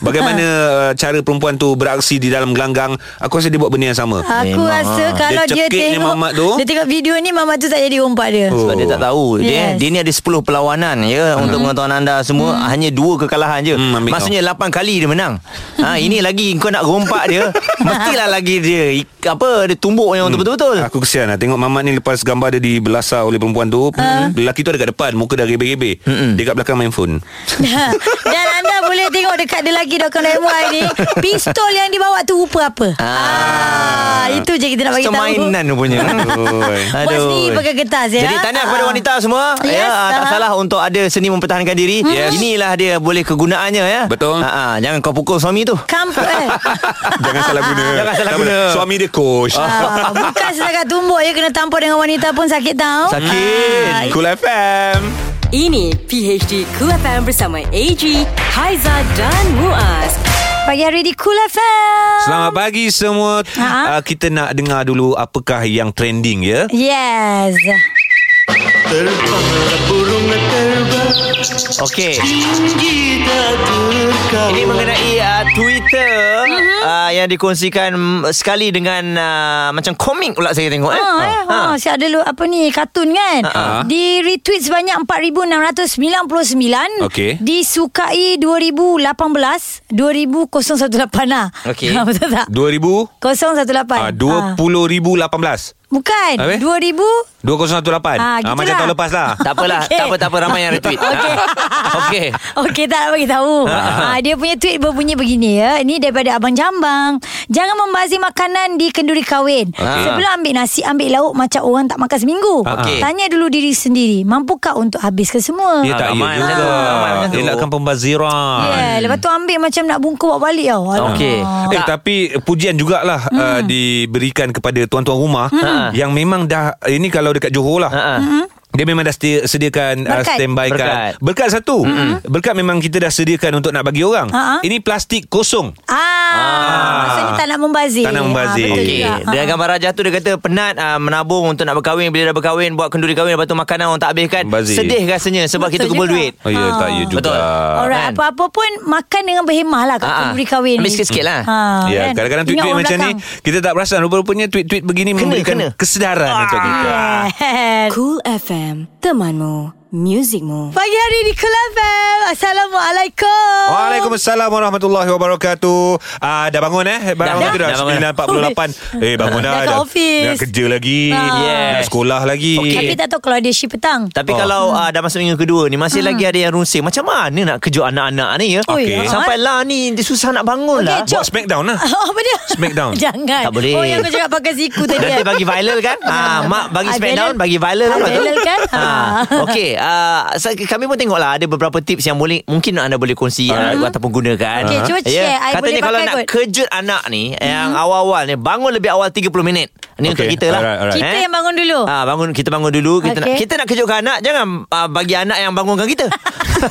Speaker 3: Bagaimana uh, cara perempuan tu beraksi di dalam gelanggang. Aku rasa dia buat benda yang sama.
Speaker 1: Aku
Speaker 2: Memang,
Speaker 1: rasa
Speaker 2: ah.
Speaker 1: kalau
Speaker 3: Dia
Speaker 1: dia,
Speaker 3: cekik ni
Speaker 1: tengok
Speaker 3: mamat tu.
Speaker 1: Dia tengok video ni Mamat tu tak jadi rompak dia
Speaker 3: Oh.
Speaker 1: (laughs)
Speaker 2: Sebab dia tak tahu dia
Speaker 1: Yes. Hmm.
Speaker 2: dia ni ada 10 perlawanan ya untuk pengetahuan anda semua hanya dua kekalahan je.
Speaker 3: Hmm, ambil
Speaker 2: Maksudnya 8 kali dia menang. ha ini lagi kau nak rompak
Speaker 1: (laughs)
Speaker 2: dia mestilah lagi dia ik- apa dia tumbuk yang betul-betul.
Speaker 3: Hmm. Aku kesian lah Tengok mamat ni lepas gambar dia dibelasah oleh perempuan tu
Speaker 2: Ah.
Speaker 3: Lelaki tu ada kat depan Muka dah rebe-rebe Dia kat belakang
Speaker 2: (laughs)
Speaker 3: main phone
Speaker 1: Ha. Dan anda boleh tengok Dekat dia lagi Doktor MY ni Pistol yang dibawa tu Rupa apa ah. Itu je kita nak bagi tahu
Speaker 2: Permainan punya.
Speaker 1: (laughs)
Speaker 3: Oi.
Speaker 1: Buat sendiri pakai kertas, ya.
Speaker 2: Jadi tanya kepada
Speaker 1: Ah.
Speaker 2: wanita semua
Speaker 1: Yes,
Speaker 2: ya ah, tak
Speaker 1: ah. Mm-hmm.
Speaker 2: salah untuk ada seni mempertahankan diri.
Speaker 3: Yes.
Speaker 2: Inilah dia boleh kegunaannya ya.
Speaker 3: Betul.
Speaker 2: Ha, ha, jangan kau pukul suami tu.
Speaker 1: Kamp
Speaker 3: (laughs)
Speaker 1: eh.
Speaker 3: Jangan salah guna
Speaker 2: Jangan salah
Speaker 3: Tak boleh.
Speaker 2: guna.
Speaker 3: Suami dia coach
Speaker 1: ah, bukan setakat tumbuk ya kena tampar dengan wanita pun sakit tau.
Speaker 2: Sakit.
Speaker 1: Ah,
Speaker 3: Cool FM
Speaker 4: Ini PHD Cool FM bersama AG, Haiza dan Muaz.
Speaker 1: Pagi hari di Cool FM.
Speaker 3: Selamat pagi semua
Speaker 1: Ha?
Speaker 2: Ah.
Speaker 3: uh, Kita nak dengar dulu Apakah yang trending ya
Speaker 1: Yes.
Speaker 2: Okey. Ini mengenai uh, Twitter mm-hmm. uh, yang dikongsikan mm, sekali dengan uh, macam komik pula saya tengok eh.
Speaker 1: Ha, eh. ha.
Speaker 2: Ha.
Speaker 1: siap ada lu- apa ni kartun kan.
Speaker 3: Ha.
Speaker 1: Di retweet sebanyak 4699.
Speaker 3: Okey.
Speaker 1: Disukai 2018 2018 lah.
Speaker 2: Okey.
Speaker 1: Ha, betul tak?
Speaker 3: 2000 uh,
Speaker 1: 018.
Speaker 3: 20018
Speaker 1: Ha. Ah, Bukan.
Speaker 3: Habis? 2018
Speaker 1: 2000
Speaker 3: Ah,
Speaker 1: Ah,
Speaker 3: Macam
Speaker 1: gitulah.
Speaker 3: tahun lepas lah
Speaker 2: Tak apalah,
Speaker 1: (laughs) Okey.
Speaker 2: okay. tak apa tak apa ramai yang retweet.
Speaker 1: (laughs)
Speaker 2: Ah.
Speaker 1: Okey.
Speaker 2: Okey.
Speaker 1: ah. (laughs) Okey tak nak bagi tahu. ha, dia punya tweet berbunyi begini ya. Ini daripada abang Jambang. Jangan membazir makanan di kenduri kahwin.
Speaker 3: Okey.
Speaker 1: Sebelum ambil nasi, ambil lauk macam orang tak makan seminggu.
Speaker 2: Okey.
Speaker 1: Tanya dulu diri sendiri, mampukah untuk habiskan semua?
Speaker 3: Dia
Speaker 2: Ah,
Speaker 3: tak ya
Speaker 2: ramai
Speaker 3: juga
Speaker 2: macam tu, ramai lah. macam tu.
Speaker 3: Elakkan pembaziran
Speaker 1: Yeah, Ya, lepas tu ambil macam nak bungkus bawa balik tau. Alamak.
Speaker 2: Ah, ya. Okey.
Speaker 3: Eh tapi pujian jugalah hmm. uh, diberikan kepada tuan-tuan rumah hmm. yang memang dah ini kalau dekat Johor lah.
Speaker 2: Ha.
Speaker 3: Dia memang dah sedia, sediakan uh,
Speaker 1: Berkat.
Speaker 3: standby kan.
Speaker 2: Berkat.
Speaker 3: Berkat satu. Mm-hmm. Berkat memang kita dah sediakan untuk nak bagi orang.
Speaker 1: Ha-ha.
Speaker 3: Ini plastik kosong.
Speaker 1: Ah, maksudnya tak nak membazir.
Speaker 3: Tak nak membazir.
Speaker 1: Ah, betul
Speaker 2: Okey.
Speaker 1: juga.
Speaker 2: Dengan gambar rajah tu dia kata penat uh, menabung untuk nak berkahwin bila dah berkahwin buat kenduri kahwin lepas tu makanan orang tak habiskan.
Speaker 3: Bazir.
Speaker 2: Sedih rasanya sebab kita
Speaker 1: Betul
Speaker 2: kumpul
Speaker 1: juga.
Speaker 2: duit.
Speaker 3: Oh ya tak ya juga.
Speaker 2: Betul.
Speaker 1: Ah, Alright,
Speaker 2: kan?
Speaker 1: apa-apa pun makan dengan berhemah lah kat
Speaker 2: Ah, ah.
Speaker 1: kenduri kahwin
Speaker 2: Ambil
Speaker 1: ni.
Speaker 2: sikit-sikit lah.
Speaker 1: Ha,
Speaker 3: Ya,
Speaker 1: kan?
Speaker 3: kadang-kadang
Speaker 1: Ingat
Speaker 3: tweet-tweet
Speaker 1: orang
Speaker 3: macam
Speaker 1: belakang.
Speaker 3: ni kita tak perasan rupa-rupanya tweet-tweet begini
Speaker 2: Kena,
Speaker 3: memberikan
Speaker 1: Ah.
Speaker 2: kena.
Speaker 3: kesedaran untuk kita.
Speaker 1: Yes.
Speaker 4: Cool FM, temanmu, Musicmu.
Speaker 1: Pagi hari di Kelab FM. Assalamualaikum.
Speaker 3: Waalaikumsalam warahmatullahi wabarakatuh. Ah dah bangun eh? Bangun
Speaker 2: Dah.
Speaker 3: dah, dah,
Speaker 2: Dah bangun.
Speaker 3: dah 9.48.
Speaker 1: (laughs)
Speaker 3: Eh bangun dah.
Speaker 1: Dah kat office.
Speaker 3: Dah kerja lagi.
Speaker 1: Ah.
Speaker 2: Yes.
Speaker 3: Dah sekolah lagi.
Speaker 2: Okey.
Speaker 1: Tapi tak tahu kalau ada shift petang. (laughs)
Speaker 2: Tapi
Speaker 3: Oh.
Speaker 2: oh. kalau uh, dah masuk minggu kedua ni
Speaker 1: Hmm.
Speaker 2: Masih lagi ada yang rungsing Macam mana nak kejut anak-anak ni ya
Speaker 1: Okey.
Speaker 2: Sampai lah ni dia Susah nak bangun
Speaker 1: Okey,
Speaker 2: lah
Speaker 1: jom. Ah,
Speaker 3: Buat smackdown lah.
Speaker 1: Apa dia?
Speaker 3: Smackdown.
Speaker 1: Oh, (laughs) Jangan.
Speaker 2: Tak boleh.
Speaker 1: Oh yang kau cakap pakai siku tadi
Speaker 2: Nanti
Speaker 1: kan?
Speaker 2: bagi viral
Speaker 1: (laughs)
Speaker 2: kan ah, Mak bagi
Speaker 1: Ah,
Speaker 2: smackdown
Speaker 1: viral.
Speaker 2: Bagi viral
Speaker 1: Ah,
Speaker 2: apa tu
Speaker 1: viral kan? (laughs) Ah.
Speaker 2: Okey ah, sa- Kami pun tengok lah Ada beberapa tips yang boleh Mungkin anda boleh kongsi ah. Ataupun gunakan
Speaker 1: Mhm.
Speaker 2: Ya.
Speaker 1: Okey, cuba share.
Speaker 2: Katanya
Speaker 1: I boleh
Speaker 2: kalau
Speaker 1: pakai
Speaker 2: nak
Speaker 1: kot. Mhm.
Speaker 2: kejut anak ni Yang awal-awal ni Bangun lebih awal 30 minit Ni untuk
Speaker 3: Okey,
Speaker 2: kita lah
Speaker 3: alright, alright.
Speaker 1: Kita yang bangun dulu.
Speaker 2: Ah bangun kita bangun dulu kita okay. nak
Speaker 1: Okey.
Speaker 2: kita nak kejutkan anak jangan ah, bagi anak yang bangunkan kita.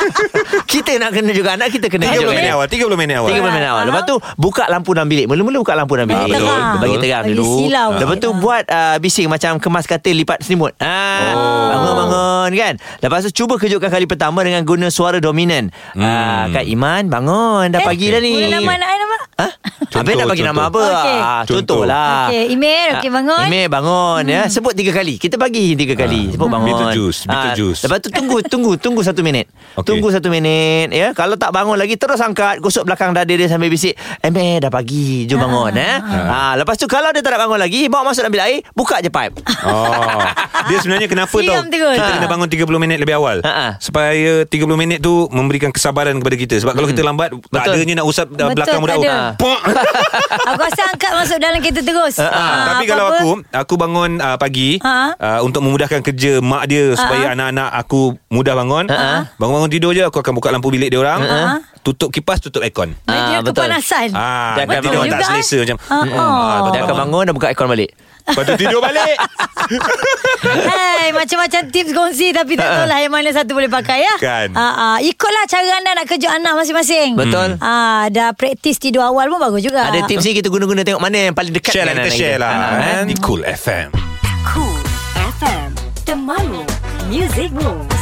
Speaker 2: (laughs) kita nak kena juga anak kita kena
Speaker 3: 30
Speaker 2: kejutkan. dia.
Speaker 3: minit awal. 30 minit awal.
Speaker 2: 30 minit awal.
Speaker 1: Aha.
Speaker 2: Lepas tu buka lampu dalam bilik. Mula-mula buka lampu dalam bilik.
Speaker 3: Ah, betul, betul.
Speaker 2: Bagi terang
Speaker 1: Bagi
Speaker 2: dulu.
Speaker 1: silau.
Speaker 2: Lepas tu
Speaker 1: Ah.
Speaker 2: buat uh, bising macam kemas katil lipat selimut. Ah,
Speaker 3: Oh.
Speaker 2: bangun-bangun kan. Lepas tu cuba kejutkan kali pertama dengan guna suara dominan. Ah, Kak Iman bangun dah Ah, pagi dah ni.
Speaker 1: Hmm. Eh, Boleh nama anak I nama?
Speaker 2: Ha? Habis nak bagi
Speaker 3: contoh.
Speaker 2: nama apa?
Speaker 1: Okey.
Speaker 2: Ah,
Speaker 3: Contoh.
Speaker 2: contohlah.
Speaker 1: Okey, Imel, okey, bangun. Hmm.
Speaker 2: Imel bangun ya. Sebut tiga kali. Kita bagi
Speaker 3: Ah,
Speaker 2: tiga kali. Sebut bangun. Ah,
Speaker 3: Beetlejuice, Beetlejuice.
Speaker 2: lepas tu tunggu, tunggu, tunggu satu minit.
Speaker 3: Okey.
Speaker 2: Tunggu satu minit ya. Kalau tak bangun lagi terus angkat, gosok belakang dada dia sambil bisik, "Imel dah pagi, jom bangun
Speaker 1: Ah.
Speaker 2: ya."
Speaker 3: Ah.
Speaker 2: Ha, lepas tu kalau dia tak nak bangun lagi, bawa masuk ambil air, buka je pipe.
Speaker 3: Oh. Dia sebenarnya kenapa
Speaker 1: Siram
Speaker 3: tau
Speaker 1: terus.
Speaker 3: Kita
Speaker 1: Ha.
Speaker 3: kena bangun 30 minit lebih awal
Speaker 2: Ha-ha.
Speaker 3: Supaya 30 minit tu Memberikan kesabaran kepada kita Sebab kalau kita lambat Tak
Speaker 2: Hmm. Betul.
Speaker 3: adanya nak usap dah
Speaker 1: Betul,
Speaker 3: belakang
Speaker 1: tak
Speaker 3: budak tu.
Speaker 1: ada.
Speaker 3: Pok.
Speaker 1: Aku rasa angkat masuk dalam kereta terus.
Speaker 3: Ah, tapi
Speaker 1: apa-apa.
Speaker 3: kalau aku Aku bangun uh, pagi
Speaker 1: Ha.
Speaker 3: uh, Untuk memudahkan kerja Mak dia Supaya anak-anak aku Mudah bangun
Speaker 2: Ha.
Speaker 3: Bangun-bangun tidur je Aku akan buka lampu bilik dia orang Ha? Tutup kipas Tutup aircon
Speaker 2: Ah,
Speaker 1: Bagi dia
Speaker 2: betul.
Speaker 1: kepanasan.
Speaker 3: Ah,
Speaker 2: Dia akan
Speaker 3: nanti dia orang
Speaker 2: bangun
Speaker 3: tak
Speaker 1: juga, eh?
Speaker 3: selesa macam
Speaker 1: Ah, oh.
Speaker 3: lepas tu
Speaker 2: Dia akan bangun dan buka aircon balik.
Speaker 3: Lepas tu tidur balik
Speaker 1: Hai, macam-macam tips kongsi tapi tak tahulah yang mana satu boleh pakai ya.
Speaker 3: Ah, Kan.
Speaker 1: Ah, ah, ikutlah cara anda nak kejut anak masing-masing.
Speaker 3: Hmm.
Speaker 2: Betul.
Speaker 1: Ah, dah praktis tidur awal pun bagus juga.
Speaker 2: Ada tips ni kita guna-guna tengok mana yang paling dekat
Speaker 3: Share lah
Speaker 2: dengan
Speaker 3: kita
Speaker 2: anak
Speaker 3: share lah
Speaker 2: Ah,
Speaker 3: kan?
Speaker 2: kan?
Speaker 3: Di Cool FM
Speaker 4: Cool FM. Temanmu. Music Moves.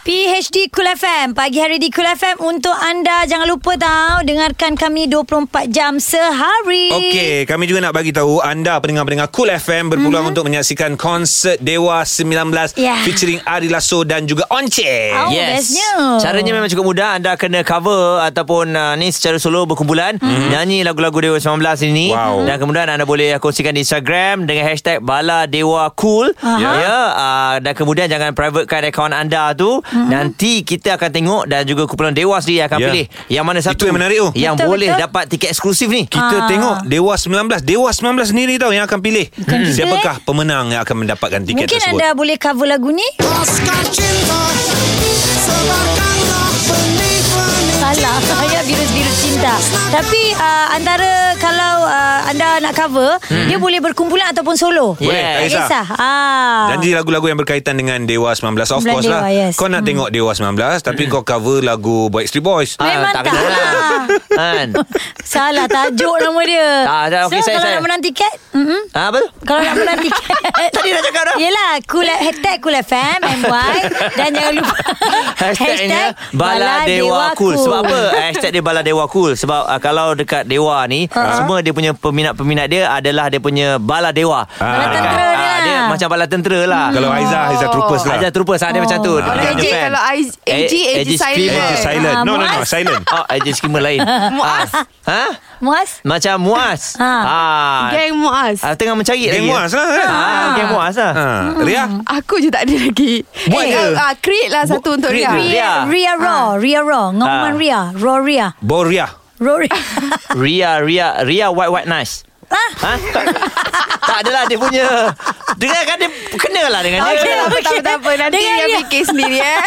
Speaker 1: PHD Cool FM Pagi hari di Cool FM Untuk anda Jangan lupa tau Dengarkan kami 24 jam sehari
Speaker 3: Okey, kami juga nak bagi tahu anda pendengar-pendengar Cool FM berpeluang mm-hmm. untuk menyaksikan konsert Dewa 19
Speaker 1: Ya.
Speaker 3: featuring Ari Lasso dan juga Once.
Speaker 1: Oh,
Speaker 2: Yes
Speaker 1: bestnya.
Speaker 2: Caranya memang cukup mudah Anda kena cover Ataupun uh, ni secara solo Berkumpulan
Speaker 1: Mhm.
Speaker 2: mm-hmm. Nyanyi lagu-lagu Dewa 19 ini
Speaker 3: Wow.
Speaker 2: Dan kemudian anda boleh kongsikan di Instagram Dengan hashtag Bala Dewa Cool
Speaker 1: Aha.
Speaker 2: Ya uh, Dan kemudian jangan privatekan akaun anda tu
Speaker 1: Mhm.
Speaker 2: mm-hmm. Nanti kita akan tengok Dan juga kumpulan Dewa sendiri akan
Speaker 3: Ya.
Speaker 2: pilih Yang mana satu
Speaker 3: Itu yang menarik oh. tu.
Speaker 2: Yang
Speaker 1: Betul,
Speaker 2: boleh
Speaker 1: betul.
Speaker 2: dapat tiket eksklusif ni
Speaker 3: Kita
Speaker 1: Ah.
Speaker 3: tengok Dewa 19 Dewa 19 sendiri tau Yang akan pilih
Speaker 1: kita, eh?
Speaker 3: Siapakah pemenang Yang akan mendapatkan tiket
Speaker 1: Mungkin
Speaker 3: tersebut
Speaker 1: anda boleh cover lagu ni Salah (laughs) Saya virus-virus cinta Tapi uh, Antara Kalau uh, anda nak cover Dia boleh berkumpulan Ataupun solo
Speaker 2: Hmm. Boleh, tak
Speaker 1: Tak
Speaker 3: kisah.
Speaker 1: kisah ah.
Speaker 3: Janji lagu-lagu yang berkaitan dengan Dewa 19 Of
Speaker 1: Bulan
Speaker 3: course
Speaker 1: Dewa,
Speaker 3: lah
Speaker 1: yes. Hmm.
Speaker 3: Kau nak tengok Dewa 19 Tapi kau cover lagu Backstreet Boys
Speaker 2: Ah,
Speaker 1: Memang
Speaker 2: tak
Speaker 1: tak
Speaker 2: kena
Speaker 1: (laughs) lah.
Speaker 2: Kan
Speaker 1: (laughs) Salah tajuk nama dia
Speaker 2: Tak, tak, okey,
Speaker 1: So
Speaker 2: saya-
Speaker 1: kalau
Speaker 2: saya-
Speaker 1: nak menang tiket mm-mm.
Speaker 2: ah, Apa tu?
Speaker 1: Kalau nak menang tiket
Speaker 2: (laughs) Tadi dah cakap dah.
Speaker 1: Yelah cool, Hashtag Cool FM MY Dan jangan lupa
Speaker 2: (laughs) Hashtagnya Bala Dewa Cool. Sebab apa hashtag dia Bala Dewa Cool? Sebab uh, kalau dekat Dewa ni uh-huh. semua dia punya peminat-peminat dia adalah dia punya Bala Dewa.
Speaker 1: Bala tentera
Speaker 2: Ah,
Speaker 1: dia.
Speaker 2: dia macam bala tentera lah.
Speaker 3: Kalau
Speaker 1: Ah.
Speaker 3: Aizah Aizah Troopers lah
Speaker 2: Ajar terupa saat ah, dia macam tu.
Speaker 13: Kalau
Speaker 2: Dia
Speaker 13: AJ,
Speaker 2: fan.
Speaker 13: kalau Aiz- AJ, AJ
Speaker 2: Eh,
Speaker 13: silent.
Speaker 3: Eh,
Speaker 2: screamer.
Speaker 3: Silent No no no
Speaker 1: Muaz. (laughs)
Speaker 3: Silent
Speaker 2: Oh, AJ skimmer lain.
Speaker 13: Muaz.
Speaker 2: Ah. Ha?
Speaker 1: Muaz
Speaker 2: Macam muas.
Speaker 1: Ha.
Speaker 2: Ah.
Speaker 13: Geng Muaz
Speaker 2: Ah, tengah mencari
Speaker 3: Geng
Speaker 2: lagi.
Speaker 3: Muaz lah kan?
Speaker 2: Ah, geng muas lah.
Speaker 3: ha. Ria
Speaker 13: Aku je tak ada lagi
Speaker 3: Buat je.
Speaker 13: ah, ah, Create lah satu untuk Ria
Speaker 2: create
Speaker 13: Ah.
Speaker 2: dulu. Ria.
Speaker 1: Ria Raw Ria Raw Ngoman
Speaker 2: Ah.
Speaker 1: Ria Raw Ria
Speaker 3: Boria
Speaker 1: Raw
Speaker 13: (laughs)
Speaker 1: Ria (laughs)
Speaker 2: Ria, Ria, Ria white white nice. Ha? tak adalah dia punya. Dengarkan dia kenalah dengan dia.
Speaker 13: Okay, Ya, tak apa, tak apa, tak apa. Nanti
Speaker 1: Dengan
Speaker 13: Ria
Speaker 1: Ria.
Speaker 13: fikir sendiri eh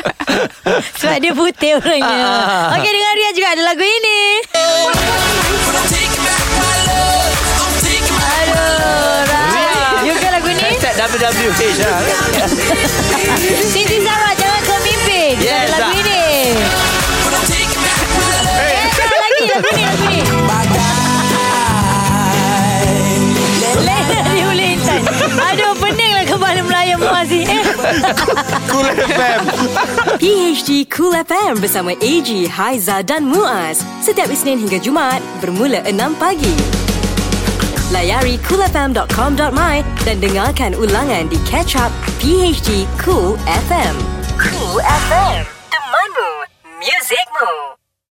Speaker 1: (laughs) Sebab dia putih orangnya
Speaker 2: Ah.
Speaker 1: Okey dengan Ria juga ada lagu ini Aduh Rai You ke lagu ni
Speaker 2: Hashtag WWH lah.
Speaker 1: Siti Sarah jangan kau mimpin
Speaker 2: Yes,
Speaker 1: Ada lagu
Speaker 2: Zah.
Speaker 1: ini Eh, Sarah lagi lagu ni lagu ni Lena Diulintan Aduh pening lah kepala Melayu Muazi Eh
Speaker 3: Cool FM
Speaker 4: PHD Cool FM bersama AG, Haiza dan Muaz. Setiap Isnin hingga Jumaat bermula 6 pagi. Layari coolfm.com.my dan dengarkan ulangan di Catch Up PHD Cool FM. Cool FM. Temanmu. Muzikmu.